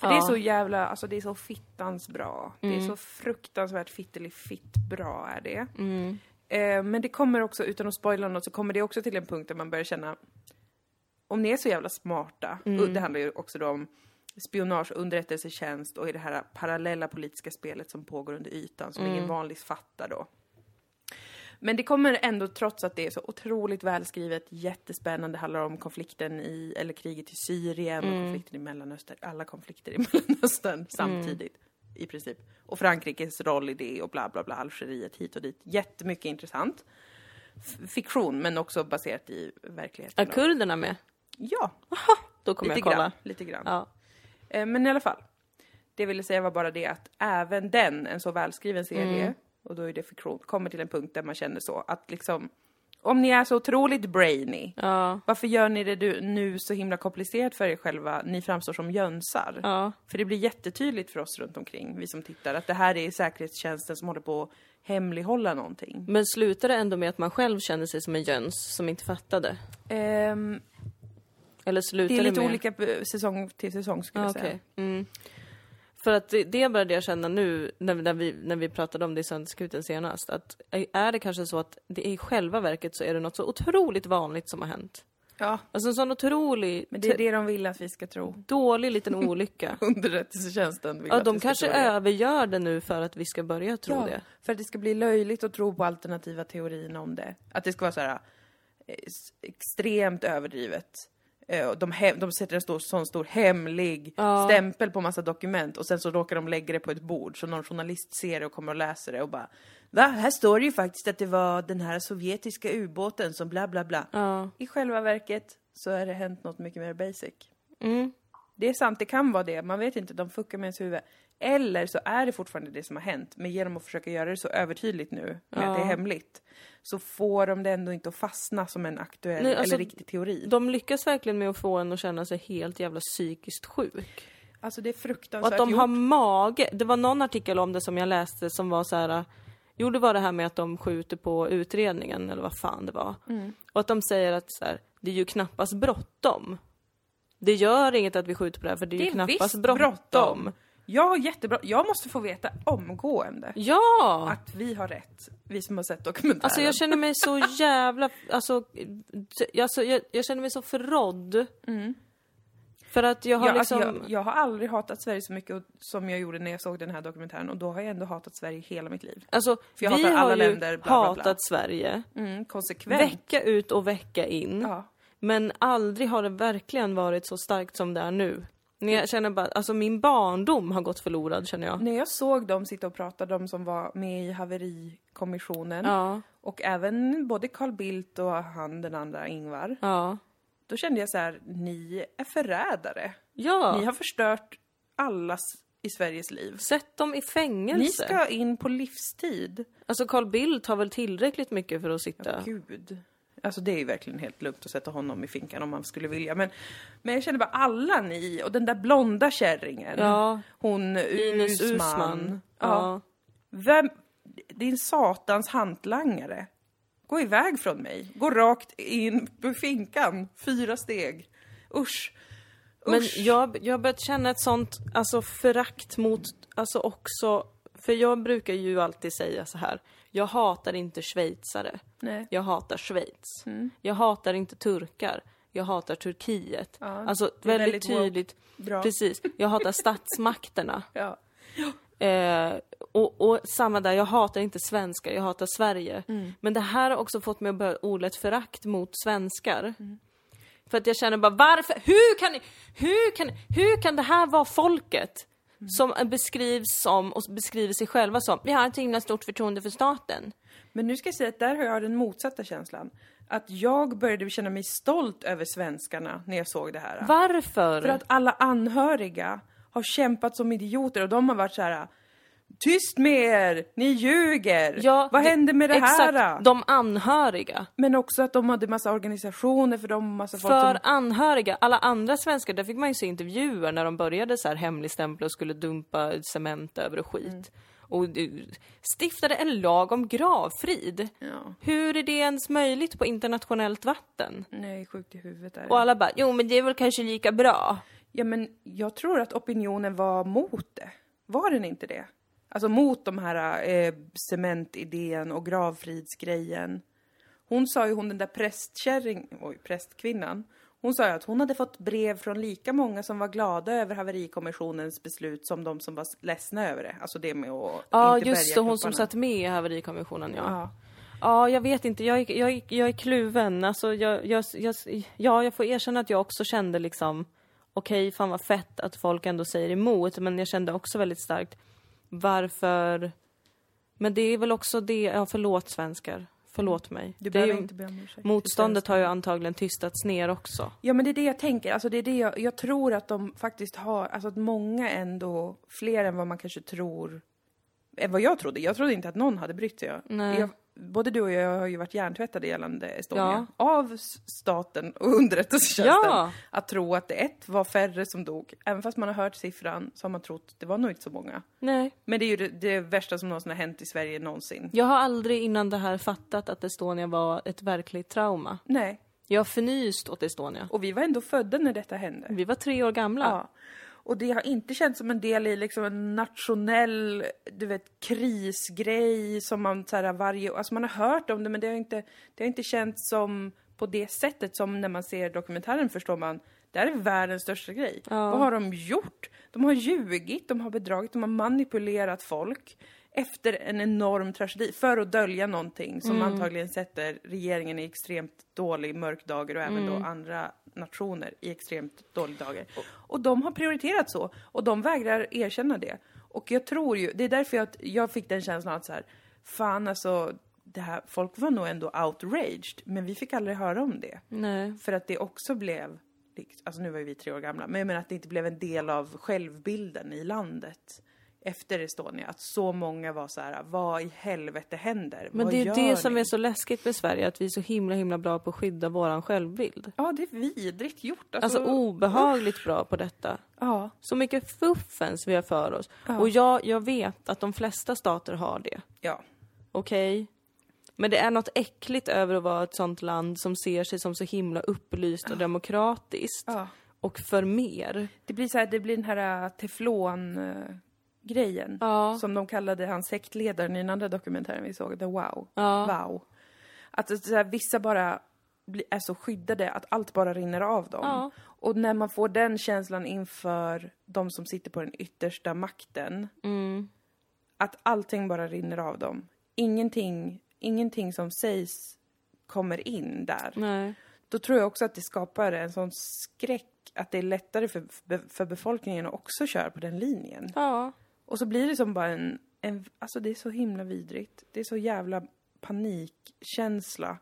B: För Det är så jävla, alltså det är så fittans bra. Det är så fruktansvärt fittelifitt bra är det. Eh, men det kommer också, utan att spoila något, så kommer det också till en punkt där man börjar känna om ni är så jävla smarta, och det handlar ju också då om spionage, underrättelsetjänst och i det här parallella politiska spelet som pågår under ytan som ingen vanlig fattar då. Men det kommer ändå, trots att det är så otroligt välskrivet, jättespännande, handlar om konflikten i, eller kriget i Syrien och konflikten i Mellanöstern, alla konflikter i Mellanöstern samtidigt i princip. Och Frankrikes roll i det och bla bla bla, Algeriet hit och dit. Jättemycket intressant. F- Fiktion, men också baserat i verkligheten.
A: Är
B: då.
A: kurderna med?
B: Ja,
A: Då kommer
B: lite
A: jag kolla.
B: grann. Lite grann.
A: Ja.
B: Eh, Men i alla fall. Det jag ville säga var bara det att även
A: Mm.
B: den, en så välskriven serie, och då är det fiktion, kommer till en punkt där man känner så att liksom Om ni är så otroligt brainy,
A: Ja.
B: varför gör ni det du- nu så himla komplicerat för er själva? Ni framstår som jönsar.
A: Ja.
B: För det blir jättetydligt för oss runt omkring, vi som tittar, att det här är säkerhetstjänsten som håller på att hemlighålla någonting.
A: Men slutar det ändå med att man själv känner sig som en jöns som inte fattade?
B: Ehm,
A: Eller slutar
B: det är
A: det,
B: lite
A: med...
B: olika eh, säsong till säsong skulle
A: Ah,
B: jag säga.
A: okej. mm. För att det, det började jag känna nu när, vi- när, vi, när vi pratade om det i Söndagskuten senast. Att är det kanske så att det i själva verket så är det något så otroligt vanligt som har hänt?
B: Ja,
A: Alltså en sån otrolig
B: men typ- det är det de vill att vi ska tro.
A: dålig liten olycka.
B: Underrättelsetjänsten vill
A: ja,
B: att vi
A: de
B: ska
A: kanske
B: tro det.
A: övergör det nu för att vi ska börja tro
B: ja,
A: det.
B: För att det ska bli löjligt att tro på alternativa teorin om det. Att det ska vara så här eh, s- extremt överdrivet. Eh, och De, he- de sätter en stor, sån stor hemlig
A: Ja.
B: stämpel på massa dokument och sen så råkar de lägga det på ett bord så någon journalist ser det och kommer och läser det och bara Va? Här står det ju faktiskt att det var den här sovjetiska ubåten som bla bla bla.
A: Ja.
B: I själva verket så har det hänt något mycket mer basic.
A: Mm.
B: Det är sant, det kan vara det. Man vet inte, de fuckar med ens huvud. Eller så är det fortfarande det som har hänt, men genom att försöka göra det så övertydligt nu, med att det är hemligt, så får de det ändå inte att fastna som en aktuell
A: Nej, alltså,
B: eller riktig teori.
A: De lyckas verkligen med att få en att känna sig helt jävla psykiskt sjuk.
B: Alltså det är
A: Och
B: fruktansvärt
A: att de
B: gjort.
A: har mage. Det var någon artikel om det som jag läste som var så här. Jo, det var det här med att de skjuter på utredningen eller vad fan det var.
B: Mm.
A: Och att de säger att så här, det är ju knappast bråttom. Det gör inget att vi skjuter på det här för det är, ju knappast
B: visst
A: bråttom.
B: Ja, jättebra. Jag måste få veta omgående
A: Ja!
B: att vi har rätt, vi som har sett dokumentären.
A: Alltså jag känner mig så jävla, alltså, d- alltså jag, jag känner mig så förrådd. För att jag har
B: Mm. Ja,
A: liksom...
B: alltså jag, jag har aldrig hatat Sverige så mycket och- som jag gjorde när jag såg den här dokumentären och då har jag ändå hatat Sverige hela mitt liv.
A: Alltså,
B: För jag
A: vi
B: hatar alla
A: har ju
B: länder, bla, bla, bla.
A: hatat Sverige
B: Mm, konsekvent.
A: vecka ut och vecka in.
B: Ja.
A: Men aldrig har det verkligen varit så starkt som det är nu. Men Jag känner bara, alltså min barndom har gått förlorad känner jag.
B: När jag såg dem sitta och prata, de som var med i haverikommissionen
A: Ja,
B: och även både Carl Bildt och han den andra Ingvar,
A: ja.
B: då kände jag så här: ni är förrädare. Ni
A: Ja,
B: har förstört allas i Sveriges liv.
A: sätt dem i
B: Ni
A: fängelse.
B: ska in på livstid.
A: Alltså Carl Bildt har väl tillräckligt mycket för att sitta...
B: Gud. Alltså det är ju verkligen helt lugnt att sätta honom i finkan om man skulle vilja. Men, men jag känner bara alla ni och den där blonda kärringen.
A: Ja.
B: Hon
A: Ines
B: Usman.
A: Usman.
B: Ja. Vem, din satans hantlangare. Gå iväg från mig. Gå rakt in på finkan. Fyra steg. Usch.
A: Men
B: Usch.
A: jag, jag har börjat känna ett sånt alltså, förakt mot, alltså också, för jag brukar ju alltid säga så här. Jag hatar inte schweizare.
B: Nej. Mm.
A: Jag hatar Schweiz. Jag hatar inte turkar. Jag hatar Turkiet. alltså
B: det är
A: väldigt,
B: väldigt woke.
A: tydligt.
B: Bra.
A: Precis. Jag hatar statsmakterna.
B: Ja.
A: Eh, och, och samma där, jag hatar inte svenskar, jag hatar Sverige.
B: Mm.
A: Men det här har också fått mig att börja odla ett förakt mot svenskar.
B: Mm.
A: För att jag känner bara, varför? Hur kan, ni, hur kan, hur kan det här vara folket?
B: Mm.
A: Som beskrivs som, och beskriver sig själva som, vi har ett himla stort förtroende för staten.
B: Men nu ska jag säga att där har jag den motsatta känslan. Att jag började känna mig stolt över svenskarna när jag såg det här.
A: Varför?
B: För att alla anhöriga har kämpat som idioter och de har varit så här. Tyst med er! Ni ljuger! Vad händer med det
A: exakt,
B: här?
A: de anhöriga.
B: Men också att de hade massa organisationer för dem, massa folk som...
A: För anhöriga, alla andra svenskar, där fick man ju se intervjuer när de började så här hemligstämpla och skulle dumpa cement över och skit.
B: Mm.
A: Och eh, stiftade en lag om gravfrid.
B: Ja. Mm.
A: Hur är det ens möjligt på internationellt vatten?
B: Nej, sjukt i huvudet är det.
A: Och alla bara, jo men det är väl kanske lika bra.
B: Ja, men jag tror att opinionen var mot det. Var den inte det? Alltså mot de här eh, cementidén och gravfridsgrejen. Hon sa ju, hon den där prästkärring, oj, prästkvinnan, hon sa ju att hon hade fått brev från lika många som var glada över haverikommissionens beslut som de som var s- ledsna över det. Alltså det med att
A: Ja
B: inte
A: just
B: bärga
A: det, hon som
B: kropparna.
A: satt med i haverikommissionen ja.
B: Ja.
A: Ja, jag vet inte. Jag, är- jag, är- jag är kluven. Alltså, jag, jag, jag, ja, jag får erkänna att jag också kände liksom okej, fan vad fett att folk ändå säger emot. Men jag kände också väldigt starkt varför... Men det är väl också det, ja förlåt svenskar. Förlåt mig.
B: Du
A: det är
B: behöver
A: ju,
B: inte be om ursäkt.
A: motståndet har ju antagligen tystats ner också.
B: Ja men det är det jag tänker, alltså det är det jag, jag tror att de faktiskt har, alltså att många ändå, fler än vad man kanske tror, än vad jag trodde, jag trodde inte att någon hade brytt sig. Jag,
A: Nej.
B: jag både du och jag har ju varit hjärntvättade gällande Estonia.
A: Ja.
B: Av s- staten och underrättelsetjänsten.
A: Ja.
B: Att tro att det ett var färre som dog. Även fast man har hört siffran så har man trott det var nog inte så många.
A: Nej.
B: Men det är ju det, det värsta som någonsin har hänt i Sverige någonsin.
A: Jag har aldrig innan det här fattat att Estonia var ett verkligt trauma.
B: Nej.
A: Jag har förnyst åt Estonia.
B: Och vi var ändå födda när detta hände.
A: Vi var tre år gamla.
B: Ja. Och det har inte känts som en del i liksom en nationell, du vet, krisgrej som man så här varje Alltså man har hört om det men det har inte, det har inte känts som på det sättet som när man ser dokumentären förstår man. Det här är världens största grej. Vad har de gjort? De har ljugit, de har bedragit, de har manipulerat folk efter en enorm tragedi för att dölja någonting som antagligen sätter regeringen i extremt dålig mörk dager och även då andra nationer i extremt dålig dager. Och de har prioriterat så och de vägrar erkänna det. Och jag tror ju, det är därför jag, jag fick den känslan att så här, fan alltså, det här, folk var nog ändå outraged, men vi fick aldrig höra om det.
A: Nej.
B: För att det också blev, alltså nu var ju vi tre år gamla, men jag menar att det inte blev en del av självbilden i landet efter Estonia. Att så många var så här, vad i helvete händer?
A: Men
B: vad
A: det är ju
B: gör
A: det som
B: ni?
A: är så läskigt med Sverige, att vi är så himla himla bra på att skydda våran självbild.
B: Ja, det är vidrigt gjort.
A: Alltså obehagligt bra på detta.
B: Ja.
A: Så mycket fuffens vi har för oss. Och jag, jag vet att de flesta stater har det.
B: ja.
A: Okej? Men det är något äckligt över att vara ett sånt land som ser sig som så himla upplyst och demokratiskt.
B: Ja.
A: Och för mer.
B: Det blir så här, det blir den här äh, teflon äh, grejen
A: Ja.
B: som de kallade han sektledaren i den andra dokumentären vi såg, The Wow.
A: Ja.
B: wow. Att det är så här, vissa bara bli- är så skyddade att allt bara rinner av dem.
A: Ja.
B: Och när man får den känslan inför de som sitter på den yttersta makten, att allting bara rinner av dem. Ingenting, ingenting som sägs kommer in där
A: Nej.
B: då tror jag också att det skapar en sån skräck att det är lättare för, för befolkningen att också köra på den linjen.
A: Ja.
B: Och så blir det som bara en, en... Alltså det är så himla vidrigt. Det är så jävla panikkänsla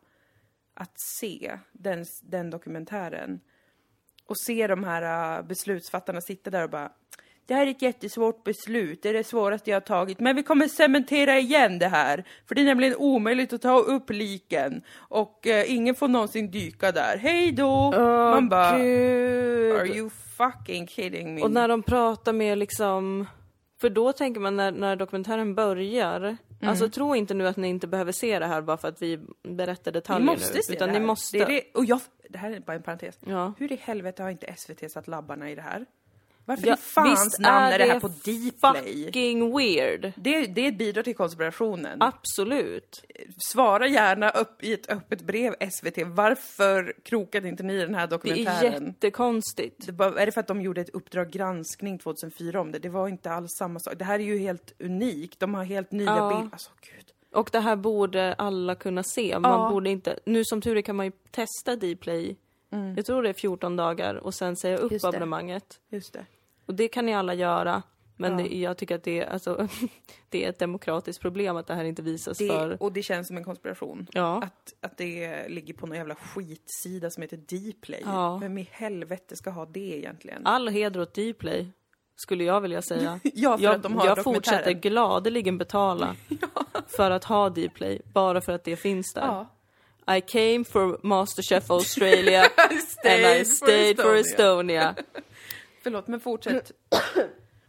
B: att se den, den dokumentären. Och se de här äh, beslutsfattarna sitta där och bara det här är ett jättesvårt beslut, det är det svåraste jag har tagit, men vi kommer cementera igen det här. För det är nämligen omöjligt att ta upp liken och eh, ingen får någonsin dyka där. Hej då! Man bara,
A: Gud.
B: are you fucking kidding me?
A: Och när de pratar med liksom... För då tänker man när, när dokumentären börjar,
B: Mm.
A: alltså tro inte nu att ni inte behöver se det här bara för att vi berättar detaljer
B: Ni måste
A: nu.
B: se
A: utan
B: det här.
A: ni måste.
B: Det, är det, och jag, det här är bara en parentes.
A: Ja.
B: Hur i helvete har inte SVT satt labbarna i det här? Varför
A: Ja,
B: i fans
A: visst
B: namn är det här på Dplay?
A: fucking weird.
B: Det, det bidrar till konspirationen.
A: Absolut.
B: Svara gärna upp i ett öppet brev SVT. Varför krokade inte ni i den här
A: Det är
B: dokumentären?
A: jättekonstigt.
B: Det bara- är det för att de gjorde ett Uppdrag granskning 2004 om det? Det var inte alls samma sak. Det här är ju helt unikt. De har helt nya
A: Ja.
B: bilder. Alltså gud.
A: Och det här borde alla kunna se. Man borde inte... Nu som tur är kan man ju testa Dplay. Jag tror det är 14 dagar och sen säga upp
B: Mm. Just det.
A: abonnemanget.
B: Just det.
A: Och det kan ni alla göra. Men det, jag tycker att det är, alltså, det är ett demokratiskt problem att det här inte visas
B: det
A: för...
B: och det känns som en konspiration.
A: Ja.
B: Att, att det ligger på någon jävla skitsida som heter Dplay.
A: Ja.
B: Vem i helvete ska ha det egentligen?
A: All heder åt Dplay, skulle jag vilja säga.
B: Ja, för
A: jag
B: att de har
A: jag
B: dokumentären.
A: fortsätter gladeligen betala för att ha Dplay, bara för att det finns där.
B: Ja.
A: I came for Masterchef Australia and
B: stayed for
A: I stayed for
B: Estonia.
A: Estonia.
B: Förlåt, men fortsätt.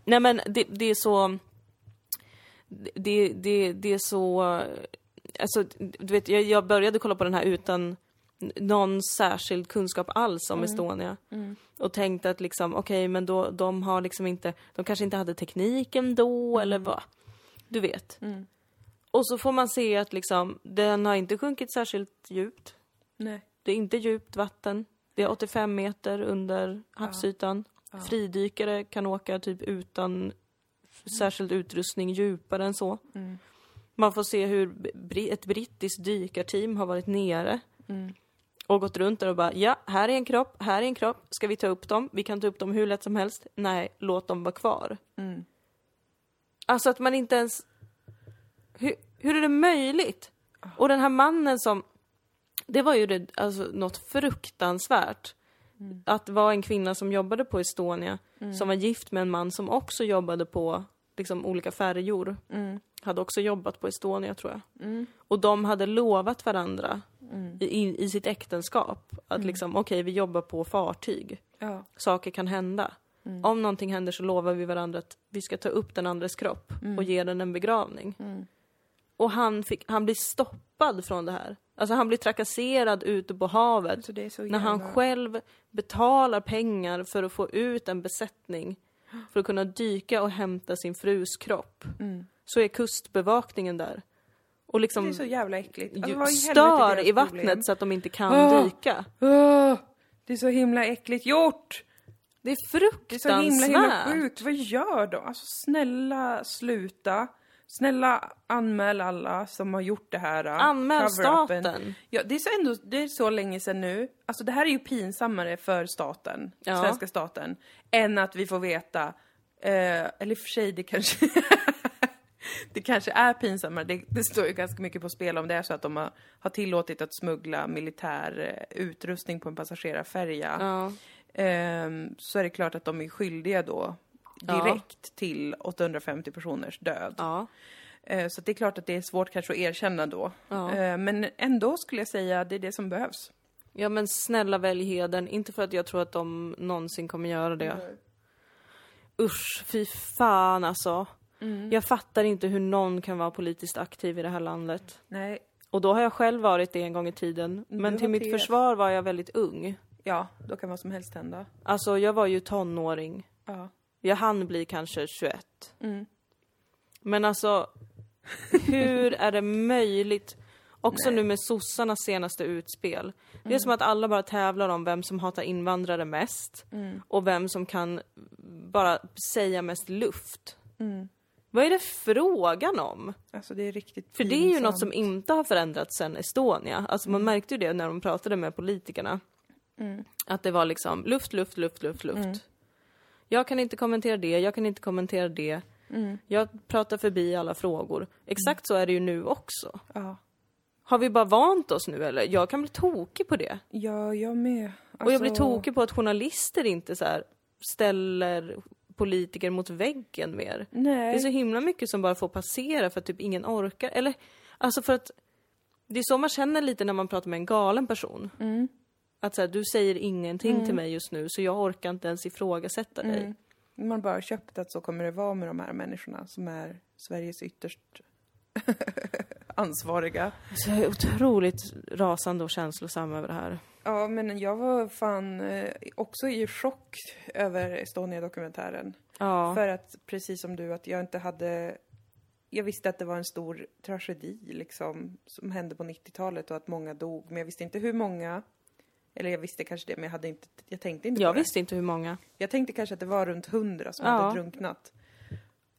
A: Nej men det, det är så... Det, det, det är så... Alltså, du vet, jag, jag började kolla på den här utan någon särskild kunskap alls om Estonia. Och tänkte att liksom, okej men då, de har liksom inte, de kanske inte hade tekniken då eller vad. Du vet. Och så får man se att liksom, den har inte sjunkit särskilt djupt.
B: Nej.
A: Det är inte djupt vatten. Det är 85 meter under havsytan. Fridykare kan åka typ utan särskild utrustning djupare än så. Man får se hur bri- ett brittiskt dykarteam har varit nere och gått runt där och bara ja, här är en kropp, här är en kropp, ska vi ta upp dem? Vi kan ta upp dem hur lätt som helst. Nej, låt dem vara kvar.
B: Mm.
A: Alltså att man inte ens... Hur, hur är det möjligt? Och den här mannen som det var ju det, alltså, något fruktansvärt. Att vara en kvinna som jobbade på Estonia, som var gift med en man som också jobbade på liksom olika färjor hade också jobbat på Estonia tror jag. Och de hade lovat varandra i, i, i sitt äktenskap att liksom, okej vi jobbar på fartyg,
B: Ja.
A: saker kan hända.
B: Mm.
A: Om någonting händer så lovar vi varandra att vi ska ta upp den andres kropp
B: Mm.
A: och ge den en begravning. Och han, fick, han blir stoppad från det här. Alltså han blir trakasserad ute på havet
B: Alltså det är så
A: när han
B: jävla-
A: själv betalar pengar för att få ut en besättning för att kunna dyka och hämta sin frus kropp så är kustbevakningen där och
B: Mm. Det
A: liksom
B: är så jävla äckligt. Alltså,
A: ju-
B: vad i helvete är
A: stör
B: deras
A: i vattnet
B: problem?
A: så att de inte kan
B: Ah!
A: dyka.
B: Åh, det är så himla äckligt gjort!
A: Det är
B: Det är så himla, himla
A: fruktansvärt!
B: sjukt. Vad gör de? Alltså snälla sluta. Snälla anmäl alla som har gjort det här. äh,
A: Anmäl
B: cover-upen.
A: staten.
B: Ja, det är, så ändå, det är så länge sedan nu. Alltså det här är ju pinsammare för staten,
A: Ja.
B: svenska staten, än att vi får veta, eh, eller i och för sig det kanske, det kanske är pinsammare. Det, det står ju ganska mycket på spel om det är så att de har, har tillåtit att smuggla militär eh, utrustning på en passagerarfärja.
A: Ja.
B: Ehm, så är det klart att de är skyldiga då
A: Ja.
B: direkt till 850 personers död.
A: Ja.
B: Eh, Så att det är klart att det är svårt kanske att erkänna då.
A: Ja.
B: Eh, Men ändå skulle jag säga att det är det som behövs.
A: ja men snälla välj hedern, inte för att jag tror att de någonsin kommer göra det. Usch, fy fan alltså. Jag fattar inte hur någon kan vara politiskt aktiv i det här landet.
B: Nej,
A: Och då har jag själv varit det en gång i tiden. Men
B: du
A: till
B: var
A: mitt
B: TF.
A: försvar var jag väldigt ung.
B: ja, då kan vad som helst hända.
A: Alltså jag var ju tonåring.
B: Ja.
A: Jag hann bli kanske 21. Men alltså, hur är det möjligt? Också nu med sossarnas senaste utspel. Det är som att alla bara tävlar om vem som hatar invandrare mest och vem som kan bara säga mest luft. Vad är det frågan om?
B: Alltså det är riktigt
A: För det är ju
B: pinsamt.
A: något som inte har förändrats sedan Estonia. Alltså man märkte ju det när de pratade med politikerna.
B: Mm.
A: Att det var liksom luft, luft, luft, luft, luft. Jag kan inte kommentera det, jag kan inte kommentera det.
B: Mm.
A: Jag pratar förbi alla frågor. Exakt så är det ju nu också.
B: Ja,
A: Har vi bara vant oss nu eller? Jag kan bli tokig på det.
B: ja jag med. Alltså,
A: Och jag blir tokig på att journalister inte så här ställer politiker mot väggen mer.
B: Nej.
A: Det är så himla mycket som bara får passera för att typ ingen orkar. Eller, alltså för att det är så man känner lite när man pratar med en galen person. Att så här, du säger ingenting till mig just nu så jag orkar inte ens ifrågasätta dig.
B: Man har bara köpt att så kommer det vara med de här människorna som är Sveriges ytterst ansvariga.
A: Så jag är otroligt rasande och känslosam över det här.
B: Ja, men jag var fan eh, också i chock över Estonia-dokumentären.
A: Ja.
B: För att, precis som du, att jag inte hade... Jag visste att det var en stor tragedi liksom, som hände på 90-talet och att många dog. Men jag visste inte hur många. Eller jag visste kanske det, men jag, hade inte, jag tänkte inte
A: Jag
B: på det.
A: visste inte hur många.
B: Jag tänkte kanske att det var runt 100 som
A: Ja.
B: hade drunknat.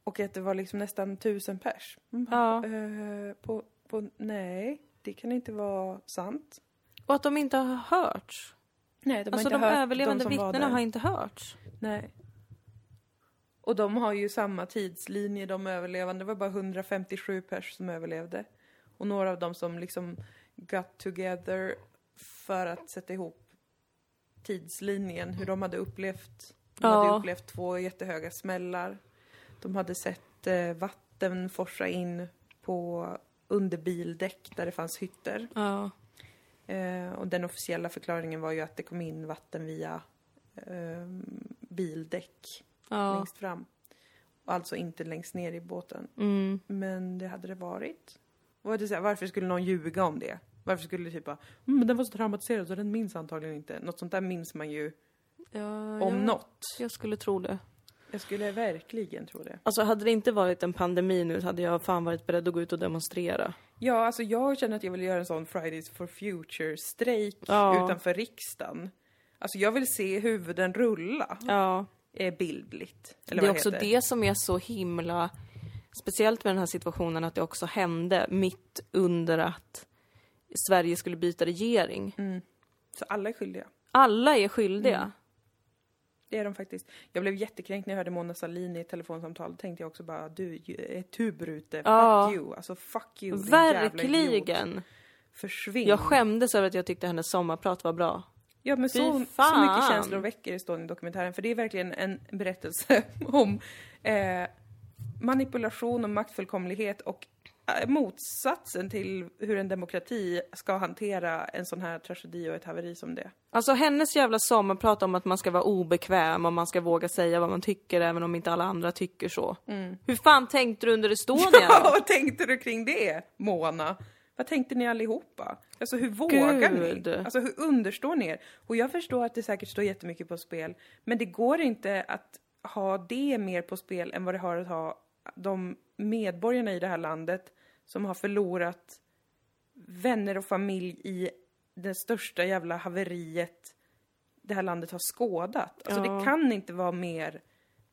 B: Och att det var liksom nästan 1000 pers. Mm,
A: Ja.
B: eh, på, på, nej, det kan inte vara sant.
A: Och att de inte har hörts.
B: Nej, de
A: alltså
B: har
A: de
B: inte hört
A: överlevande
B: de som var
A: vittnena
B: där.
A: har inte hörts.
B: Nej. Och de har ju samma tidslinje, de överlevande. Det var bara 157 pers som överlevde. Och några av dem som liksom got together för att sätta ihop tidslinjen, hur de hade upplevt. De
A: Ja.
B: hade upplevt två jättehöga smällar. De hade sett eh, vatten forsa in på under bildäck där det fanns hytter.
A: Ja.
B: Eh, och den officiella förklaringen var ju att det kom in vatten via eh, bildäck
A: Ja.
B: längst fram. Och alltså inte längst ner i båten.
A: Mm.
B: Men det hade det varit. Och det är så här, varför skulle någon ljuga om det? Varför skulle det typ bara, mm, men den var så traumatiserad så den minns antagligen inte. Något sånt där minns man ju om
A: Ja, jag,
B: något.
A: Jag skulle tro det.
B: Jag skulle verkligen tro det.
A: Alltså hade det inte varit en pandemi nu så hade jag fan varit beredd att gå ut och demonstrera.
B: Ja, alltså jag känner att jag vill göra en sån Fridays for Future-strejk
A: Ja.
B: utanför riksdagen. Alltså jag vill se huvuden rulla.
A: Ja.
B: eh, bildligt. Eller
A: Det är
B: vad
A: också
B: heter.
A: det som är så himla speciellt med den här situationen att det också hände mitt under att Sverige skulle byta regering.
B: Mm. Så alla är skyldiga.
A: Alla är skyldiga.
B: Mm. Det är de faktiskt. Jag blev jättekränkt när jag hörde Mona Sahlin i ett telefonsamtal. tänkte jag också bara, du ju- är tubrute.
A: Ja.
B: Fuck you. Alltså fuck you. din jävla idiot.
A: Verkligen!
B: Försvinn.
A: Jag skämdes över att jag tyckte hennes sommarprat var bra.
B: Ja men
A: Fy
B: så, så
A: fan.
B: mycket känslor väcker Estonia-dokumentären för det är verkligen en berättelse om eh, manipulation och maktfullkomlighet och eh, motsatsen till hur en demokrati ska hantera en sån här tragedi och ett haveri som det.
A: Alltså hennes jävla sommarprat om att man ska vara obekväm och man ska våga säga vad man tycker även om inte alla andra tycker så.
B: Mm.
A: Hur fan tänkte du under Estonia då?
B: Vad tänkte du kring det, Mona? Vad tänkte ni allihopa? Alltså hur vågar
A: Gud.
B: ni? Alltså hur understår ni er? Och jag förstår att det säkert står jättemycket på spel, men det går inte att ha det mer på spel än vad det har att ha de medborgarna i det här landet som har förlorat vänner och familj i det största jävla haveriet det här landet har skådat. Alltså det kan inte vara mer...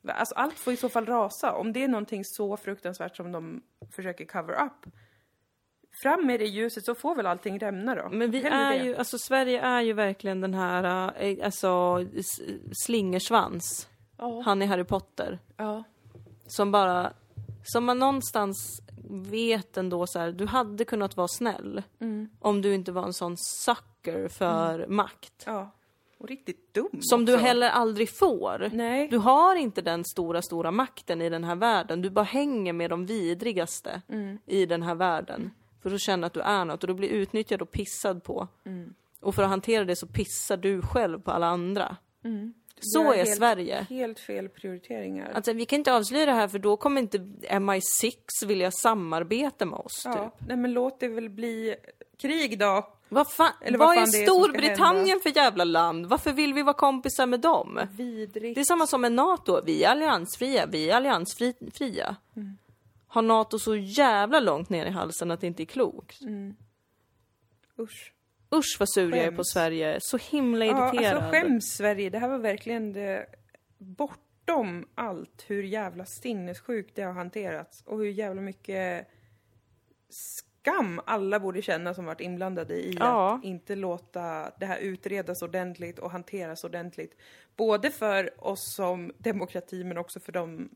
B: Alltså allt får i så fall rasa. Om det är någonting så fruktansvärt som de försöker cover up. Fram med det i ljuset så får väl allting rämna då.
A: Men vi
B: Hellre
A: är
B: det.
A: ju, alltså Sverige är ju verkligen den här, eh, alltså s- slingersvans.
B: Ja.
A: Han i Harry Potter.
B: Ja.
A: Som bara, som man någonstans vet ändå så här, du hade kunnat vara snäll.
B: Mm.
A: Om du inte var en sån sucker för makt.
B: ja. Och riktigt dum
A: Som du
B: också.
A: heller aldrig får.
B: Nej.
A: Du har inte den stora, stora makten i den här världen. Du bara hänger med de vidrigaste
B: Mm.
A: i den här världen. För att känna att du är något och du blir utnyttjad och pissad på.
B: Mm.
A: Och för att hantera det så pissar du själv på alla andra. Så
B: Gör
A: är
B: helt,
A: Sverige.
B: Helt fel prioriteringar.
A: Alltså, vi kan inte avslöja det här för då kommer inte MI6 vilja samarbeta med oss. Typ.
B: ja. Nej men låt det väl bli krig då.
A: Vad, fan,
B: Eller vad
A: vad,
B: fan det
A: är
B: är som ska
A: Storbritannien för jävla land? Varför vill vi vara kompisar med dem?
B: Vidrigt.
A: Det är samma som med NATO. Vi är alliansfria, vi är alliansfria.
B: Mm.
A: Har NATO så jävla långt ner i halsen att det inte är klokt?
B: Mm. Usch.
A: Usch vad sur jag är på
B: Skäms.
A: Sverige. Så himla
B: Ja,
A: irriterad.
B: alltså skäms Sverige. Det här var verkligen det, bortom allt hur jävla sinnessjukt det har hanterats och hur jävla mycket skam alla borde känna som varit inblandade i
A: Ja.
B: att inte låta det här utredas ordentligt och hanteras ordentligt. Både för oss som demokrati men också för de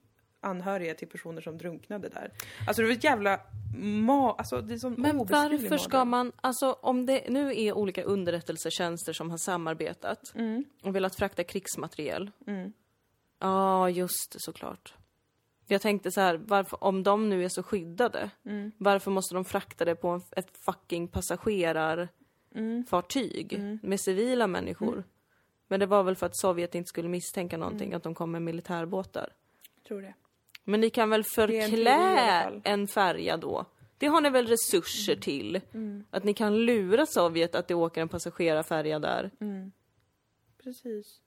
B: anhöriga till personer som drunknade där. Alltså det var ett jävla ma... Alltså det är som
A: Men
B: obeskrivlig
A: varför ska
B: mardröm.
A: man, alltså om det nu är olika underrättelsetjänster som har samarbetat och velat frakta krigsmateriel. Ja, just det, såklart. Jag tänkte så här, varför, om de nu är så skyddade, varför måste de frakta det på en, ett fucking passagerarfartyg med civila människor? Men det var väl för att Sovjet inte skulle misstänka någonting, att de kom med militärbåtar.
B: Tror det.
A: Men ni kan väl
B: är en
A: förklä
B: teori i alla fall.
A: en, färja då? Det har ni väl resurser
D: Mm.
A: till? Att ni kan lura Sovjet att det åker en passagerarfärja där?
D: Mm.
B: Precis.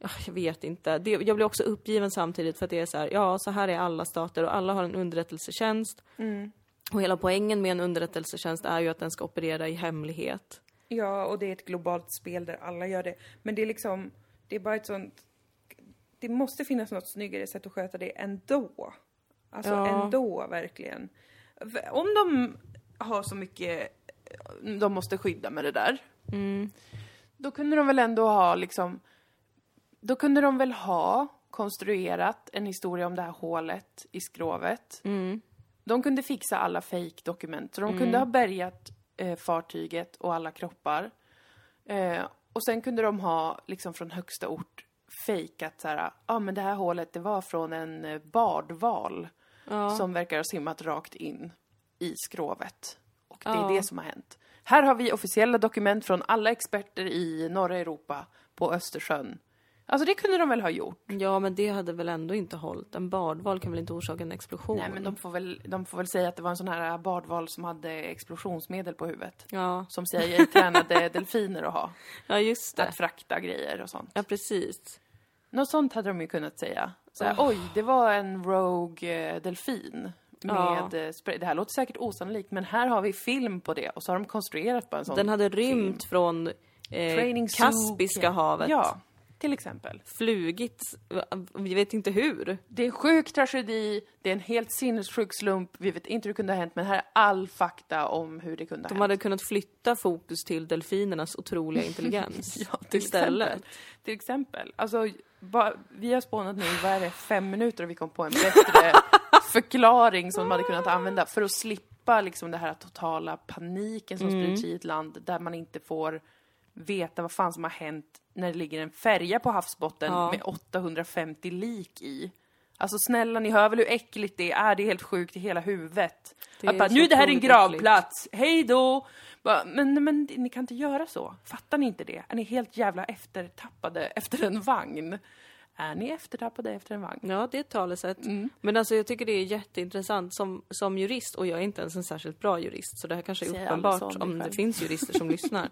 A: Ah, Jag vet inte. Det, jag blir också uppgiven samtidigt för att det är så här, ja så här är alla stater och alla har en underrättelsetjänst.
D: Mm.
A: Och hela poängen med en underrättelsetjänst är ju att den ska operera i hemlighet.
B: Ja, och det är ett globalt spel där alla gör det. Men det är liksom, det är bara ett sånt... Det måste finnas något snyggare sätt att sköta det ändå. Alltså
A: Ja.
B: ändå, verkligen. För Om de har så mycket de måste skydda med det där. Då kunde de väl ändå ha liksom... Då kunde de väl ha konstruerat en historia om det här hålet i skrovet. De kunde fixa alla fake-dokument. Så de kunde ha bärgat eh, fartyget och alla kroppar. Eh, och sen kunde de ha, liksom från högsta ort, fejkat så här, ja ah, men det här hålet det var från en eh, bardval som verkar ha simmat rakt in i skrovet. Och det är det som har hänt. Här har vi officiella dokument från alla experter i norra Europa på Östersjön. Alltså det kunde de väl ha gjort?
D: Mm.
A: Ja men det hade väl ändå inte hållit. En bardval kan väl inte orsaka en explosion?
D: Nej men de får, väl, de får väl säga att det var en sån här bardval som hade explosionsmedel på huvudet.
A: Ja.
D: Som CIA tränade delfiner att ha.
A: ja just det.
D: Att frakta grejer och sånt.
A: Ja precis.
D: Något sånt hade de ju kunnat säga. Så här, Oj, det var en rogue eh, delfin.
A: Ja.
D: Med eh, spray. Det här låter säkert osannolikt men här har vi film på det och så har de konstruerat bara en sån.
A: Den hade rymt från eh,
D: Training Zoo-
A: Kaspiska havet.
D: Ja, till exempel.
A: flugit, vi vet inte hur.
D: Det är en sjuk tragedi, det är en helt sinnessjuk slump. Vi vet inte hur det kunde ha hänt men här är all fakta om hur det kunde ha
A: De
D: hänt.
A: hade kunnat flytta fokus till delfinernas otroliga intelligens
D: Ja, till
A: istället.
D: exempel. Till exempel. Alltså, ba, vi har spånat nu, vad är det, fem minuter och vi kom på en bättre förklaring som de hade kunnat använda för att slippa liksom den här totala paniken som sprids i ett land där man inte får veta vad fan som har hänt när det ligger en färja på havsbotten med 850 lik i.
B: Alltså snälla, ni hör väl hur äckligt det är? Det är helt sjukt i hela huvudet.
A: Det
B: att
A: är
B: bara,
A: så
B: nu är det här är en
A: otroligt
B: gravplats, hej då! Bara, Men, men ni kan inte göra så. Fattar ni inte det? Är ni helt jävla eftertappade efter en vagn? Är ni eftertappade efter en vagn?
A: Ja, det är ett talesätt. Men alltså jag tycker det är jätteintressant som, som jurist, och jag är inte ens en särskilt bra jurist, så det här kanske är
B: Säger
A: uppenbart
B: alla som
A: om
B: det
A: det
B: själv.
A: finns jurister som lyssnar.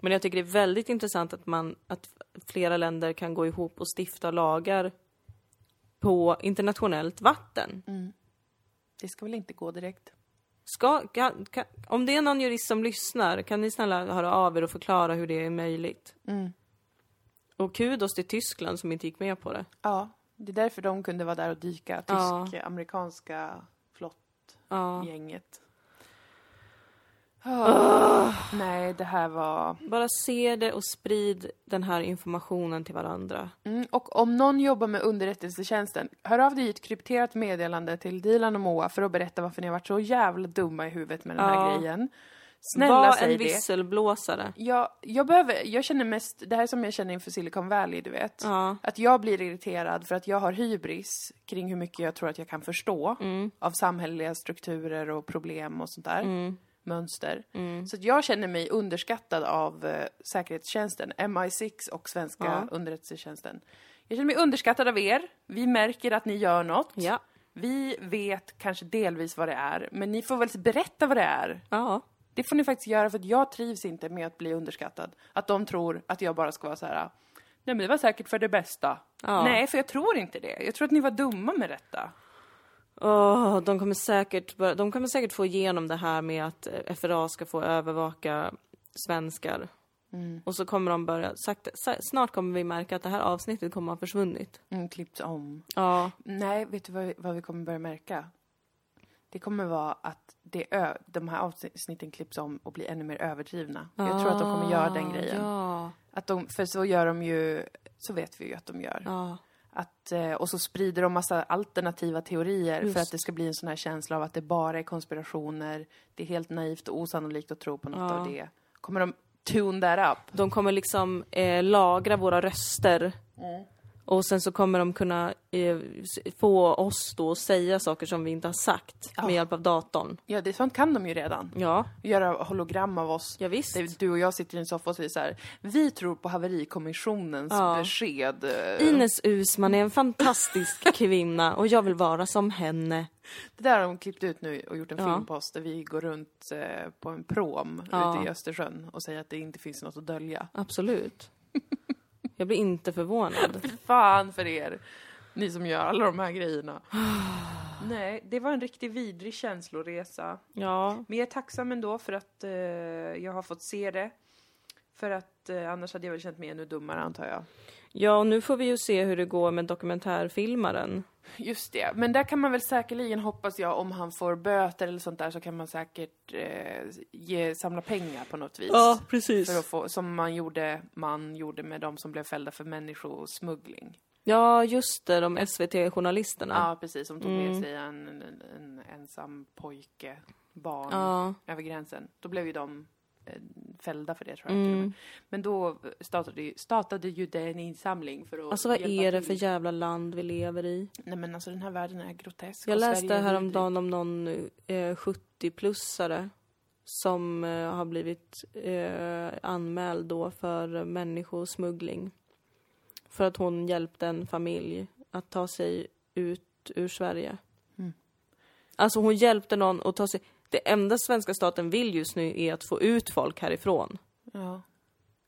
A: Men jag tycker det är väldigt intressant att, man, att flera länder kan gå ihop och stifta lagar på internationellt vatten.
B: Det ska väl inte gå direkt?
A: Ska, kan, kan, om det är någon jurist som lyssnar, kan ni snälla höra av er och förklara hur det är möjligt?
B: Mm.
A: Och kudos till Tyskland som inte gick med på det.
B: Ja, det är därför de kunde vara där och dyka,
A: Ja.
B: tysk-amerikanska
A: Ja.
B: flottgänget. Ah. Nej, det här var...
A: Bara se det och sprid den här informationen till varandra.
B: Mm, och om någon jobbar med underrättelsetjänsten, hör av dig i ett krypterat meddelande till Dilan och Moa för att berätta varför ni har varit så jävla dumma i huvudet med den här
A: Ja.
B: grejen. Snälla
A: Var
B: säg
A: en
B: det.
A: visselblåsare.
B: Jag, jag behöver, jag känner mest, det här som jag känner inför Silicon Valley, du vet.
A: Ja.
B: Att jag blir irriterad för att jag har hybris kring hur mycket jag tror att jag kan förstå
A: Mm.
B: av samhälleliga strukturer och problem och sånt där.
A: Mm.
B: Mönster. Så att jag känner mig underskattad av eh, säkerhetstjänsten, MI6 och svenska
A: Ja.
B: underrättelsetjänsten. Jag känner mig underskattad av er. Vi märker att ni gör något.
A: Ja.
B: Vi vet kanske delvis vad det är, men ni får väl berätta vad det är.
A: Ja.
B: Det får ni faktiskt göra för att jag trivs inte med att bli underskattad. Att de tror att jag bara ska vara så här. Nej men det var säkert för det bästa.
A: Ja.
B: Nej för jag tror inte det. Jag tror att ni var dumma med detta.
A: Åh, de, kommer säkert, bör- de kommer säkert få igenom det här med att eh, FRA ska få övervaka svenskar.
B: Mm.
A: Och så kommer de börja, sakta, sa- snart kommer vi märka att det här avsnittet kommer ha försvunnit.
B: Mm, klipps om.
A: Ja.
B: Nej, vet du vad, vad vi kommer börja märka? Det kommer vara att det ö, de här avsnitten klipps om och blir ännu mer överdrivna. Jag tror att de kommer göra den grejen.
A: Ja.
B: Att de, för så gör de ju, så vet vi ju att de gör.
A: ja.
B: Att, eh, och så sprider de massa alternativa teorier
A: Just.
B: för att det ska bli en sån här känsla av att det bara är konspirationer, det är helt naivt och osannolikt att tro på något
A: Ja.
B: av det. Kommer de tune that up?
A: De kommer liksom eh, lagra våra röster. Och sen så kommer de kunna eh, s- få oss då att säga saker som vi inte har sagt med hjälp av datorn.
B: Ja, det sånt kan de ju redan.
A: Ja,
B: Göra hologram av oss.
A: ja visst.
B: Det- Du och jag sitter i en soffa och säger så här, vi tror på haverikommissionens
A: Ja.
B: besked. Eh,
A: Ines Usman är en fantastisk kvinna och jag vill vara som henne.
B: Det där har de klippt ut nu och gjort en
A: Ja.
B: film på oss där vi går runt eh, på en prom
A: Ja.
B: ute i Östersjön och säger att det inte finns något att dölja.
A: Absolut. Jag blir inte förvånad.
B: Fan för er, ni som gör alla de här grejerna. Nej, det var en riktigt vidrig känsloresa.
A: Ja,
B: Men jag är tacksam ändå för att eh, jag har fått se det. För att eh, annars hade jag väl känt mig ännu dummare antar jag.
A: ja och nu får vi ju se hur det går med dokumentärfilmaren.
B: Just det, men där kan man väl säkerligen hoppas jag om han får böter eller sånt där så kan man säkert eh, ge, samla pengar på något vis. För att
A: precis.
B: få, som man gjorde, man gjorde med de som blev fällda för människosmuggling.
A: Ja, just det, de SVT-journalisterna.
B: Ja, precis. Som tog
A: Mm.
B: med sig en, en, en ensam pojke, barn,
A: Ja.
B: över gränsen. Då blev ju de eh, fällda för det tror jag.
A: Mm.
B: till och med. Men då startade ju, startade ju det en insamling för att
A: Alltså vad
B: hjälpa
A: är det
B: till.
A: för jävla land vi lever i?
B: Nej men alltså den här världen är grotesk.
A: Jag
B: och
A: läste
B: Sverige är
A: häromdagen om någon eh, 70-plussare som eh, har blivit eh, anmäld då för människosmuggling. För att hon hjälpte en familj att ta sig ut ur Sverige. Alltså hon hjälpte någon att ta sig... Det enda svenska staten vill just nu är att få ut folk härifrån.
B: vidrig. Ja.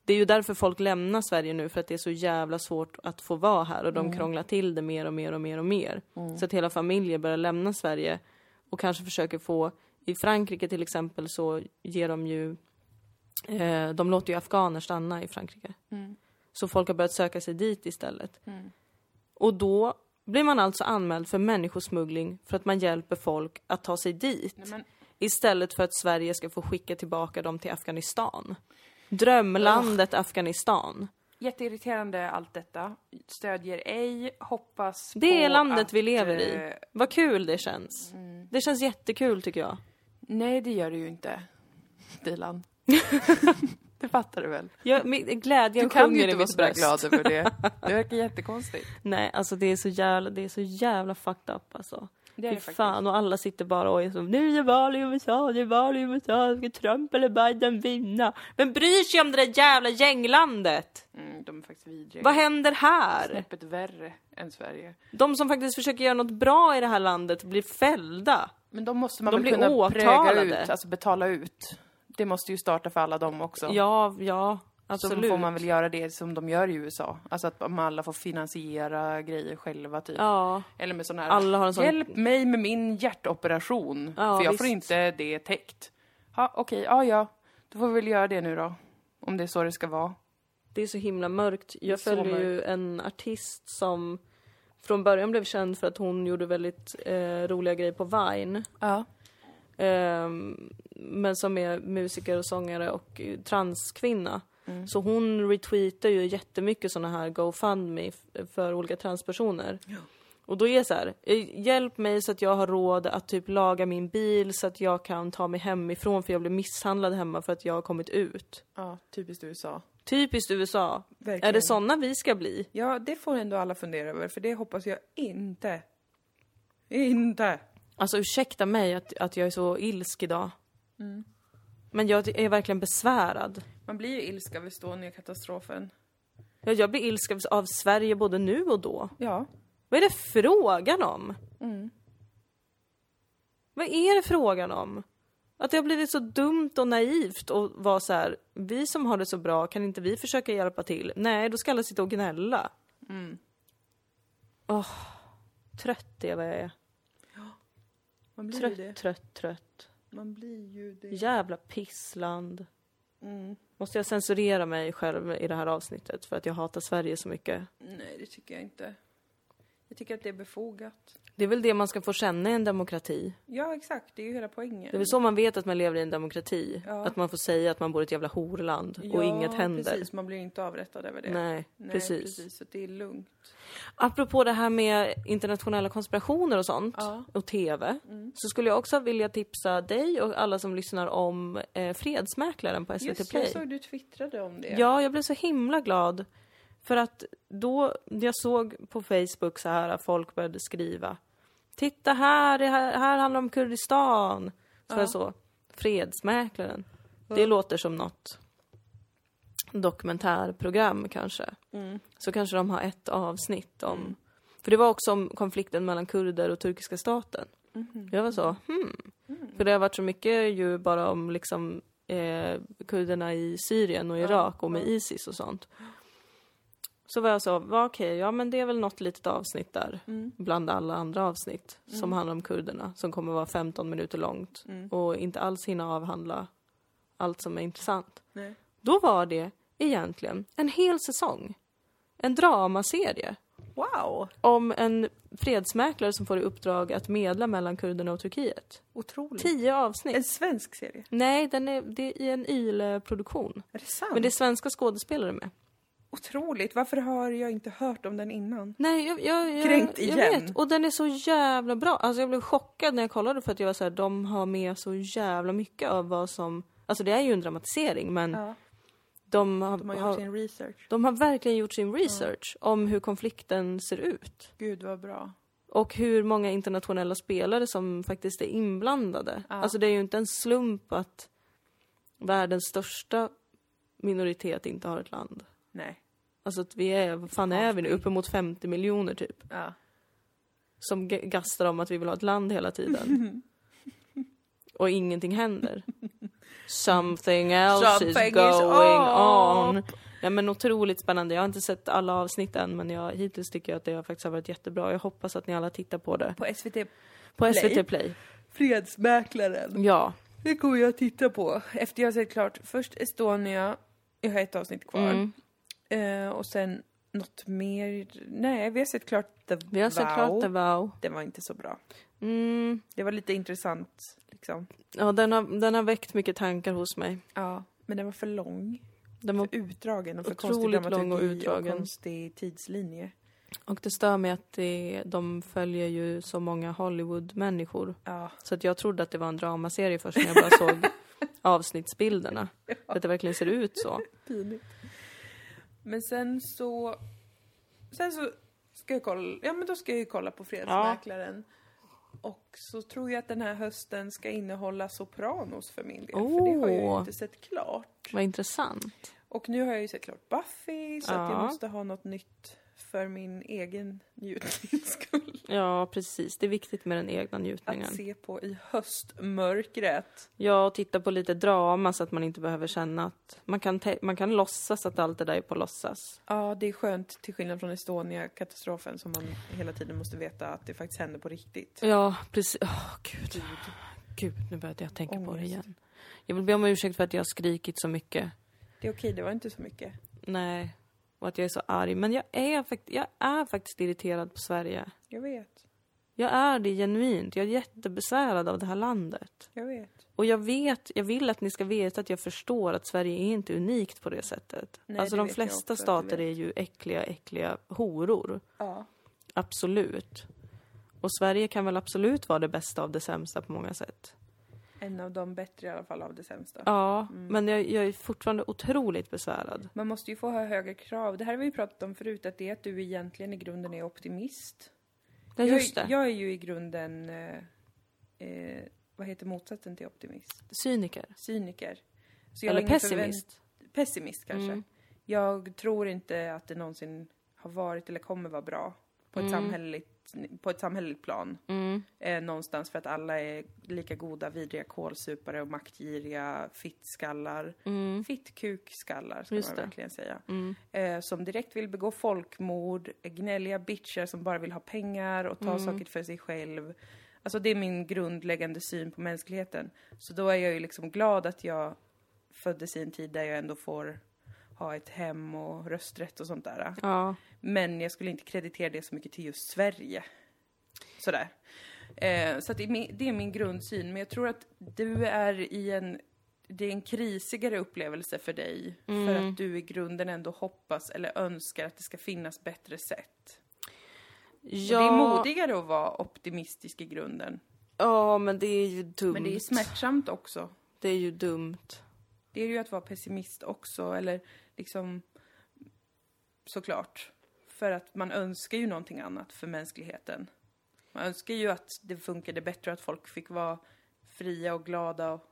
A: Det är ju därför folk lämnar Sverige nu, för att det är så jävla svårt att få vara här och de krånglar till det mer och mer och mer och mer. Så att hela familjer börjar lämna Sverige och kanske försöker få, i Frankrike till exempel så ger de ju, eh, de låter ju afghaner stanna i Frankrike. Så folk har börjat söka sig dit istället. Och då blir man alltså anmäld för människosmuggling för att man hjälper folk att ta sig dit.
B: men-
A: Istället för att Sverige ska få skicka tillbaka dem till Afghanistan. Drömlandet Afghanistan.
B: Jätteirriterande allt detta. Stödjer ej, hoppas
A: Det är
B: på
A: landet
B: att,
A: vi lever i.
B: eh,
A: Vad kul det känns.
D: Mm.
A: Det känns jättekul tycker jag.
B: Nej, det gör det ju inte. Dilan.
D: Det fattar du väl?
A: Jag, min, glädjen
D: Du kan ju
A: sjunger i
D: inte vara
A: mitt
D: så där
A: bröst.
D: glad över det. Det verkar jättekonstigt.
A: Nej, alltså det är så jävla, det är så jävla fucked up alltså.
D: Det är
A: Fy
D: det faktiskt.
A: fan, och alla sitter bara och är så nu är det val i USA, det är val i USA, ska Trump eller Biden vinna? Vem bryr sig om det där jävla gänglandet?
D: Mm, de är faktiskt vidriga.
A: Vad händer här?
D: Snäppet värre än Sverige.
A: De som faktiskt försöker göra något bra i det här landet blir fällda.
D: Men de måste man
A: De
D: väl
A: blir
D: kunna
A: åtalade.
D: pröga ut, alltså betala ut. Det måste ju starta för alla dem också.
A: Ja, ja,
D: så
A: absolut.
D: Alltså, får man väl göra det som de gör i USA. Alltså att man alla får finansiera grejer själva typ.
A: Ja,
D: Eller med sån här,
A: Alla har en sån-
D: hjälp mig med min hjärtoperation.
A: Ja,
D: för jag får
A: visst.
D: inte det täckt. Ja, okej, ja ja. Då får vi väl göra det nu då. Om det är så det ska vara.
A: det är så himla mörkt. Jag
D: Så
A: följer ju en artist som från början blev känd för att hon gjorde väldigt eh, roliga grejer på Vine.
D: Ja.
A: Ehm, men som är musiker och sångare och eh, transkvinna. Så hon retweetar ju jättemycket såna här GoFundMe f- för olika transpersoner. Och då är det så här, eh, hjälp mig så att jag har råd att typ laga min bil så att jag kan ta mig hemifrån för jag blev misshandlad hemma för att jag har kommit ut.
D: Ja, typiskt USA.
A: Typiskt USA.
B: Verkligen.
A: Är det såna vi ska bli?
B: Ja, det får ändå alla fundera över, för det hoppas jag inte. Inte!
A: Alltså ursäkta mig att, att jag är så ilsk idag. Men jag är verkligen besvärad.
B: Man blir ju ilska av Estonia-katastrofen.
A: Ja, Jag blir ilsk av- av Sverige både nu och då.
B: Ja.
A: Vad är det frågan om? Vad är det frågan om? Att det har blivit så dumt och naivt och vara så här, vi som har det så bra, kan inte vi försöka hjälpa till? Nej, då ska alla sitta och gnälla. Åh, trött är vad jag är.
B: Man blir ju det.
A: Trött, trött, trött.
B: Man blir ju det.
A: Jävla pissland.
B: Mm.
A: Måste jag censurera mig själv i det här avsnittet för att jag hatar Sverige så mycket?
B: Nej, det tycker jag inte. Jag tycker att det är befogat.
A: Det är väl det man ska få känna i en demokrati.
B: Ja, exakt. Det är ju hela poängen.
A: Det är väl så man vet att man lever i en demokrati.
B: Ja.
A: Att man får säga att man bor i ett jävla horland och inget händer.
B: precis. Man blir inte avrättad över det.
A: Nej,
B: Nej,
A: precis.
B: Så det är lugnt.
A: Apropå det här med internationella konspirationer och sånt
B: Ja.
A: och TV. Så skulle jag också vilja tipsa dig och alla som lyssnar om eh, Fredsmäklaren på SVT
B: Just det,
A: Play.
B: jag såg du twittrade om det.
A: Ja, jag blev så himla glad. För att då, jag såg på Facebook så här, att folk började skriva. Titta här, det här, här handlar om Kurdistan. Så jag så, Fredsmäklaren. Det låter som något dokumentärprogram kanske. Så kanske de har ett avsnitt om... För det var också om konflikten mellan kurder och turkiska staten. Jag var så, hmm. För det har varit så mycket ju bara om liksom eh, kurderna i Syrien och Irak och med Isis och sånt. Så var jag så, va, okej, ja men det är väl något litet avsnitt där bland alla andra avsnitt som handlar om kurderna som kommer vara 15 minuter långt och inte alls hinna avhandla allt som är intressant.
B: Nej.
A: Då var det egentligen en hel säsong. En dramaserie
B: Wow!
A: om en fredsmäklare som får i uppdrag att medla mellan kurderna och Turkiet.
B: Otroligt.
A: Tio avsnitt.
B: En svensk serie.
A: Nej, den är, det är i en YLE-produktion.
B: Är det sant?
A: Men det är svenska skådespelare med.
B: Otroligt. Varför har jag inte hört om den innan?
A: Nej, jag, jag, jag,
B: Kränkt
A: jag
B: igen.
A: vet. Och den är så jävla bra. Alltså jag blev chockad när jag kollade för att jag var såhär, de har med så jävla mycket av vad som... Alltså det är ju en dramatisering men
B: Ja.
A: de, har,
B: De har gjort
A: har,
B: sin research.
A: de har verkligen gjort sin research om hur konflikten ser ut.
B: Gud vad bra.
A: Och hur många internationella spelare som faktiskt är inblandade. Alltså det är ju inte en slump att världens största minoritet inte har ett land.
B: Nej.
A: Alltså att vi är, vad fan är vi nu? Uppemot 50 miljoner typ.
B: Ja.
A: Som g- gastar om att vi vill ha ett land hela tiden. Och ingenting händer. Something else
B: Something
A: is
B: is
A: going
B: up.
A: on. Ja men otroligt spännande. Jag har inte sett alla avsnitt än men jag, hittills tycker jag att det faktiskt har varit jättebra. Jag hoppas att ni alla tittar på det.
B: På SVT
A: På
B: Play.
A: SVT Play.
B: Fredsmäklaren.
A: Ja.
B: Det kommer jag att titta på efter jag har sett klart först Estonia, jag har ett avsnitt kvar.
A: Mm.
B: Eh, och sen något mer, nej vi har sett klart The
A: Vi har sett klart det, wow.
B: Det var inte så bra.
A: Mm.
B: Det var lite intressant liksom.
A: Ja, den har, den har väckt mycket tankar hos mig.
B: Ja, men den var för lång.
A: Den var,
B: För utdragen och för konstig
A: Otroligt lång och
B: dramaturgi och,
A: utdragen.
B: konstig tidslinje.
A: och det stör mig att det, de följer ju så många Hollywood-människor.
B: Ja.
A: Så att jag trodde att det var en dramaserie först när jag bara såg avsnittsbilderna. Att det verkligen ser ut så.
B: Pinigt. Men sen så... Sen så ska jag kolla... Ja, men då ska jag ju kolla på Fredsmäklaren. Och så tror jag att den här hösten ska innehålla Sopranos för min del. För det har jag ju
A: Åh.
B: inte sett klart.
A: Vad intressant.
B: Och nu har jag ju sett klart Buffy, så att jag
A: Ja.
B: måste ha något nytt för min egen njutnings skull.
A: Ja, precis. Det är viktigt med den egna njutningen.
B: Att se på i höstmörkret.
A: Ja, och titta på lite drama så att man inte behöver känna att man kan, te- man kan låtsas att allt det där är på låtsas.
B: Ja, det är skönt till skillnad från Estonia-katastrofen som man hela tiden måste veta att det faktiskt händer på riktigt.
A: Ja, precis. Åh, gud. Gud, nu började jag tänka på det
B: Ångest.
A: igen. Jag vill be om ursäkt för att jag har skrikit så mycket.
B: Det är okej, det var inte så mycket.
A: Nej, och att jag är så arg. Men jag är, fakt- jag är faktiskt irriterad på Sverige.
B: Jag vet,
A: Jag är det genuint. Jag är jättebesvärad av det här landet.
B: jag vet.
A: Och jag vet, jag vill att ni ska veta att jag förstår att Sverige är inte unikt på det sättet.
B: Nej,
A: alltså
B: det
A: de
B: vet jag också
A: flesta
B: att du
A: stater
B: vet.
A: är ju äckliga, äckliga horor.
B: Ja.
A: Absolut. Och Sverige kan väl absolut vara det bästa av det sämsta på många sätt.
B: En av de bättre i alla fall av det sämsta.
A: Ja,
B: Mm.
A: men jag, jag är fortfarande otroligt besvärad.
B: Man måste ju få ha högre krav. Det här har vi ju pratat om förut, att det är att du egentligen i grunden är optimist.
A: Ja, just
B: jag, är-
A: det.
B: jag är ju i grunden, eh, eh, vad heter motsatsen till optimist?
A: Cyniker.
B: Cyniker. Så jag har
A: Eller
B: ingen
A: pessimist.
B: förvänt- pessimist kanske.
A: Mm.
B: Jag tror inte att det någonsin har varit eller kommer vara bra på ett, samhälleligt, på ett samhälleligt plan.
A: Mm.
B: Eh, någonstans för att alla är lika goda vidriga kålsupare och maktgiriga fittskallar.
A: Mm.
B: Fittkukskallar ska
A: Just
B: man
A: det.
B: verkligen säga.
A: Mm.
B: Eh, som direkt vill begå folkmord, gnälliga bitchar som bara vill ha pengar och
A: Mm.
B: ta saker för sig själv. Alltså det är min grundläggande syn på mänskligheten. Så då är jag ju liksom glad att jag föddes i en tid där jag ändå får ha ett hem och rösträtt och sånt där.
A: Ja.
B: Men jag skulle inte kreditera det så mycket till just Sverige. Sådär. Eh, så att det, är min, det är min grundsyn. Men jag tror att du är i en... Det är en krisigare upplevelse för dig. För att du i grunden ändå hoppas eller önskar att det ska finnas bättre sätt.
A: Ja,
B: Och det är modigare att vara optimistisk i grunden.
A: ja, men det är ju dumt.
B: Men det är smärtsamt också.
A: det är ju dumt.
B: Det är ju att vara pessimist också, eller liksom... Såklart. För att man önskar ju någonting annat för mänskligheten. Man önskar ju att det funkade bättre, att folk fick vara fria och glada och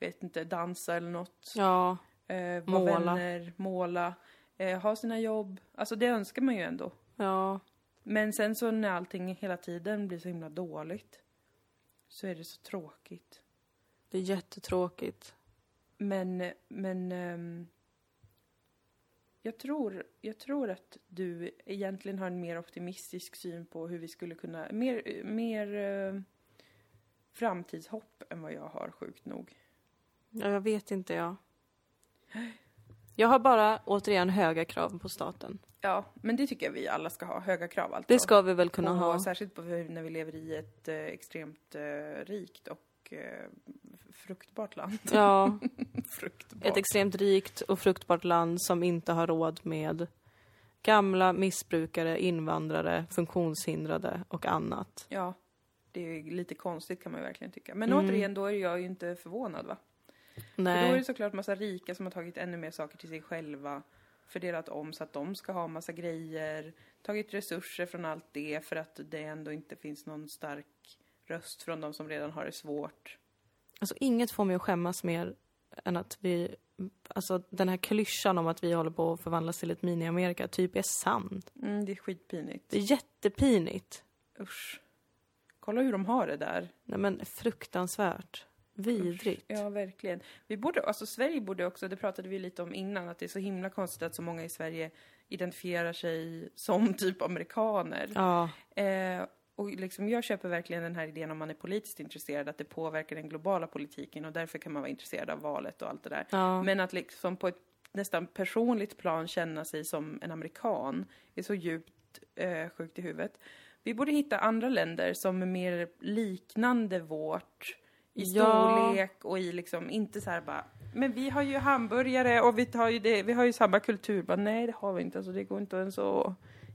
B: vet inte, dansa eller något.
A: Ja,
B: Eh, vara
A: Måla.
B: vänner, måla, eh, ha sina jobb. Alltså det önskar man ju ändå.
A: ja.
B: Men sen så när allting hela tiden blir så himla dåligt så är det så tråkigt.
A: Det är jättetråkigt.
B: Men, men... ehm, jag, tror, jag tror att du egentligen har en mer optimistisk syn på hur vi skulle kunna... Mer, mer ehm, framtidshopp än vad jag har, sjukt nog.
A: Ja, jag vet inte jag. Jag har bara återigen höga krav på staten.
B: Ja, men det tycker jag vi alla ska ha. Höga krav alltså.
A: Det ska vi väl kunna
B: och
A: ha.
B: Särskilt på hur, när vi lever i ett eh, extremt eh, rikt och eh, fruktbart land.
A: Ja,
B: fruktbart.
A: ett extremt rikt och fruktbart land som inte har råd med gamla, missbrukare, invandrare, funktionshindrade och annat.
B: Ja, det är ju lite konstigt kan man ju verkligen tycka. Men
A: Mm.
B: återigen, då är jag ju inte förvånad va? För då är det
A: Nej,
B: såklart massa rika som har tagit ännu mer saker till sig själva. Fördelat om så att de ska ha massa grejer. Tagit resurser från allt det för att det ändå inte finns någon stark röst från de som redan har det svårt.
A: alltså inget får mig att skämmas mer än att vi, alltså den här klyschan om att vi håller på att förvandlas till ett mini-Amerika typ är sann.
B: Mm, det är skitpinigt.
A: Det är jättepinigt.
B: Usch. Kolla hur de har det där.
A: Nej men fruktansvärt. Vidrigt.
B: Ja, verkligen. Vi borde, alltså Sverige borde också, det pratade vi lite om innan, att det är så himla konstigt att så många i Sverige identifierar sig som typ amerikaner.
A: Ja,
B: Eh, och liksom, jag köper verkligen den här idén om man är politiskt intresserad, att det påverkar den globala politiken och därför kan man vara intresserad av valet och allt det där.
A: Ja.
B: Men att liksom på ett nästan personligt plan känna sig som en amerikan är så djupt eh, sjukt i huvudet. Vi borde hitta andra länder som är mer liknande vårt i
A: Ja.
B: storlek och i liksom, inte så här bara, men vi har ju hamburgare och vi, tar ju det, vi har ju samma kultur. Bara, nej, det har vi inte, alltså det går inte ens att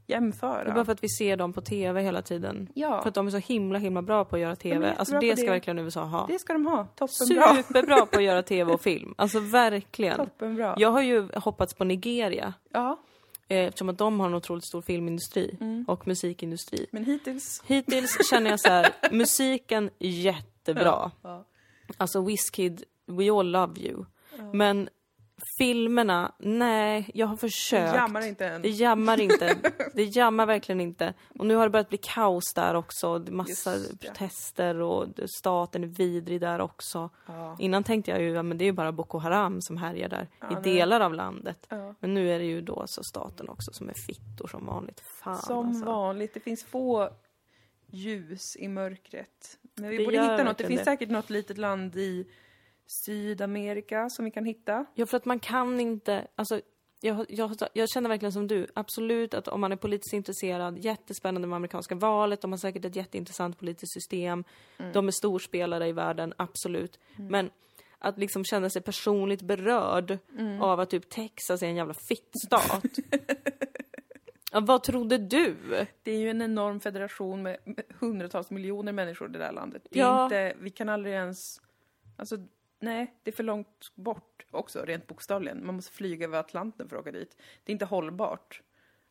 A: Det är
B: jämföra.
A: bara för att vi ser dem på TV hela tiden.
B: Ja.
A: För att de är så himla himla bra på att göra
B: De är
A: TV. alltså
B: jättebra
A: det
B: på
A: ska
B: det.
A: verkligen USA ha.
B: Det ska de ha. Toppenbra.
A: Superbra på att göra TV och film. Alltså verkligen.
B: Toppenbra.
A: Jag har ju hoppats på Nigeria.
B: Ja,
A: eh, Eftersom att de har en otroligt stor filmindustri
B: Mm.
A: och musikindustri.
B: men hittills.
A: Hittills känner jag så här, musiken jättebra. Alltså Wizkid, We All Love You. Men filmerna, nej, jag har försökt.
B: Jammar inte än.
A: Det jammar inte. Det jammar verkligen inte. Och nu har det börjat bli kaos där också. Det är massa
B: Just det.
A: protester och staten är vidrig där också.
B: Ja.
A: Innan tänkte jag ju att det är ju bara Boko Haram som härjar där i
B: nej.
A: delar av landet.
B: Ja.
A: Men nu är det ju då så staten också som är fittor som vanligt. Fan
B: Som
A: alltså.
B: vanligt, det finns få ljus i mörkret. Men vi
A: Det
B: borde
A: gör
B: hitta något. Det
A: verkligen
B: finns
A: det.
B: säkert något litet land i Sydamerika som vi kan hitta.
A: Ja, för att man kan inte, alltså jag, jag, jag känner verkligen som du, absolut att om man är politiskt intresserad, jättespännande med amerikanska valet, de har säkert ett jätteintressant politiskt system,
B: Mm.
A: de är storspelare i världen, absolut. Men att liksom känna sig personligt berörd
B: Mm.
A: av att typ Texas är en jävla fittstat. ja, vad trodde du?
B: Det är ju en enorm federation med med hundratals miljoner människor i det där landet. Det är
A: Ja.
B: inte, vi kan aldrig ens... Alltså, nej, det är för långt bort också, rent bokstavligen. Man måste flyga över Atlanten för att åka dit. Det är inte hållbart.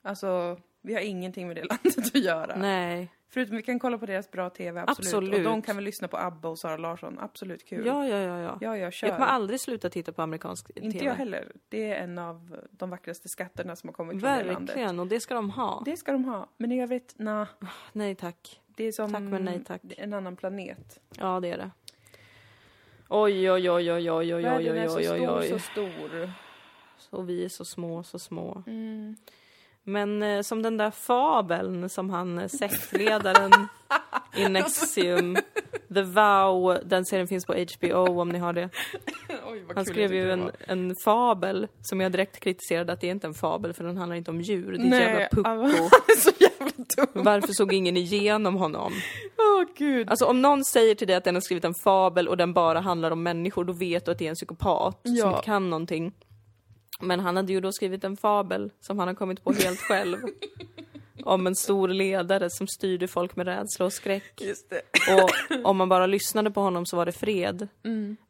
B: Alltså, vi har ingenting med det landet att göra.
A: Nej.
B: Förutom vi kan kolla på deras bra TV, absolut.
A: Absolut.
B: Och de kan väl lyssna på ABBA och Sara Larsson, absolut kul.
A: Ja, ja, ja, ja.
B: ja, jag kör.
A: Jag kommer aldrig sluta titta på amerikansk
B: inte
A: TV.
B: jag heller. Det är en av de vackraste skatterna som har kommit från det landet.
A: Verkligen, och det ska de ha.
B: Det ska de ha. Men i övrigt, na.
A: Nej tack.
B: Det är som
A: Tack, men nej, tack.
B: en annan planet.
A: Ja, det är det. Oj, oj, oj, oj, oj, oj, oj,
B: Världen är
A: oj,
B: så
A: oj, oj,
B: stor, så
A: oj.
B: stor.
A: Och vi är så små, så små. Men eh, som den där fabeln som han, eh, sektledaren i Nexium, The Vow, den serien finns på HBO om ni har det.
B: Oj, vad
A: Han
B: kul
A: skrev
B: jag tyckte
A: ju
B: det
A: en,
B: var.
A: en fabel som jag direkt kritiserade att det är inte en fabel för den handlar inte om djur, det är ett jävla
B: Nej,
A: pucko.
B: det är så jävla dumt.
A: Varför såg ingen igenom honom?
B: Åh gud.
A: Alltså om någon säger till dig att den har skrivit en fabel och den bara handlar om människor, då vet du att det är en psykopat som
B: Ja.
A: inte kan någonting. Men han hade ju då skrivit en fabel som han har kommit på helt själv. om en stor ledare som styrde folk med rädsla och skräck.
B: Just det.
A: Och om man bara lyssnade på honom så var det fred.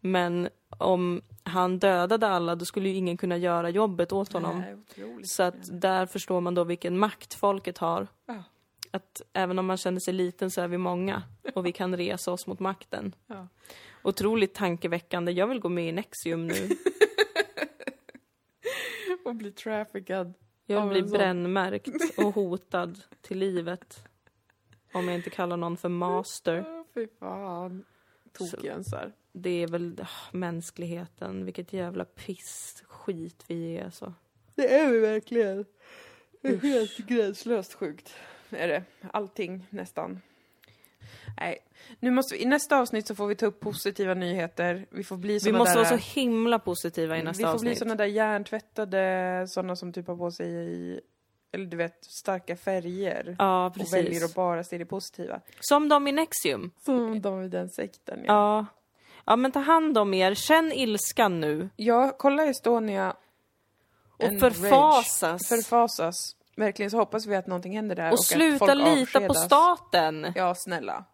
A: Men om han dödade alla då skulle ju ingen kunna göra jobbet åt honom.
B: Nej, otroligt.
A: Så att där förstår man då vilken makt folket har.
B: Ja.
A: Att även om man känner sig liten så är vi många och vi kan resa oss mot makten.
B: Ja.
A: Otroligt tankeväckande. Jag vill gå med i Nexium nu.
B: Och bli traffickad.
A: Jag
B: Ja,
A: vill bli
B: men så.
A: brännmärkt och hotad till livet. Om jag inte kallar någon för master.
B: Åh, Fy fan. Tokjönsar.
A: Det är väl ah, mänskligheten, vilket jävla piss skit vi är alltså.
B: Det är vi verkligen. Det är helt gränslöst sjukt. Är det. Allting nästan. Nej, nu måste vi, i nästa avsnitt så får vi ta upp positiva nyheter. Vi får bli
A: Vi
B: såna
A: måste
B: där... mm,
A: vara så himla positiva i
B: Vi
A: nästa
B: får bli
A: avsnitt.
B: såna där hjärntvättade, såna som typ har på sig, i- eller du vet, starka färger.
A: Ja,
B: Och väljer
A: precis.
B: att bara se det positiva. Mm.
A: Som de i Nexium.
B: Som de i den sekten. Ja.
A: Ja. Ja men ta hand om er, känn ilskan nu
B: Jag kollar Estonia
A: och
B: en
A: förfasas.
B: rage. Förfasas. Verkligen så hoppas vi att någonting händer där.
A: och
B: att
A: sluta
B: folk
A: lita på
B: avskedas.
A: staten.
B: Ja, snälla.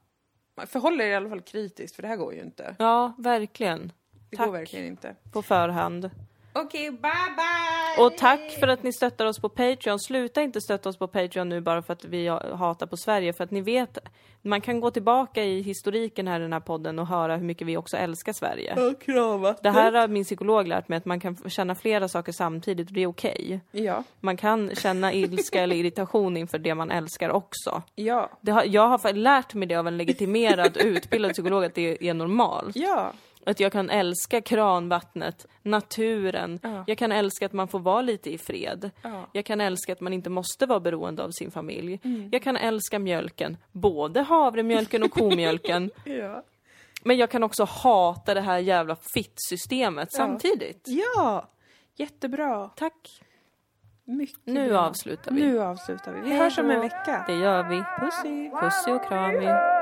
B: Förhåll er i alla fall kritiskt, för det här går ju inte.
A: Ja, verkligen.
B: Det
A: Tack
B: går verkligen inte.
A: på förhand.
B: Okej, bye bye!
A: Och tack för att ni stöttar oss på Patreon. Sluta inte stötta oss på Patreon nu bara för att vi hatar på Sverige. För att ni vet, man kan gå tillbaka i historiken här i den här podden och höra hur mycket vi också älskar Sverige.
B: Och kramat.
A: Det här har min psykolog lärt mig, att man kan f- känna flera saker samtidigt och det är okej.
B: Ja,
A: Man kan känna ilska eller irritation inför det man älskar också.
B: ja,
A: Det har, jag har fa- lärt mig det av en legitimerad utbildad psykolog att det är normalt.
B: ja.
A: Att jag kan älska kranvattnet, naturen,
B: Ja.
A: jag kan älska att man får vara lite i fred.
B: Ja.
A: Jag kan älska att man inte måste vara beroende av sin familj.
B: Mm.
A: Jag kan älska mjölken, både havremjölken och komjölken.
B: Ja.
A: Men jag kan också hata det här jävla fittsystemet samtidigt.
B: Ja! Jättebra.
A: Tack.
B: Mycket
A: Nu
B: bra.
A: avslutar vi.
B: Nu avslutar vi. Vi hörs om en vecka.
A: Det gör vi. Puss, puss och kram.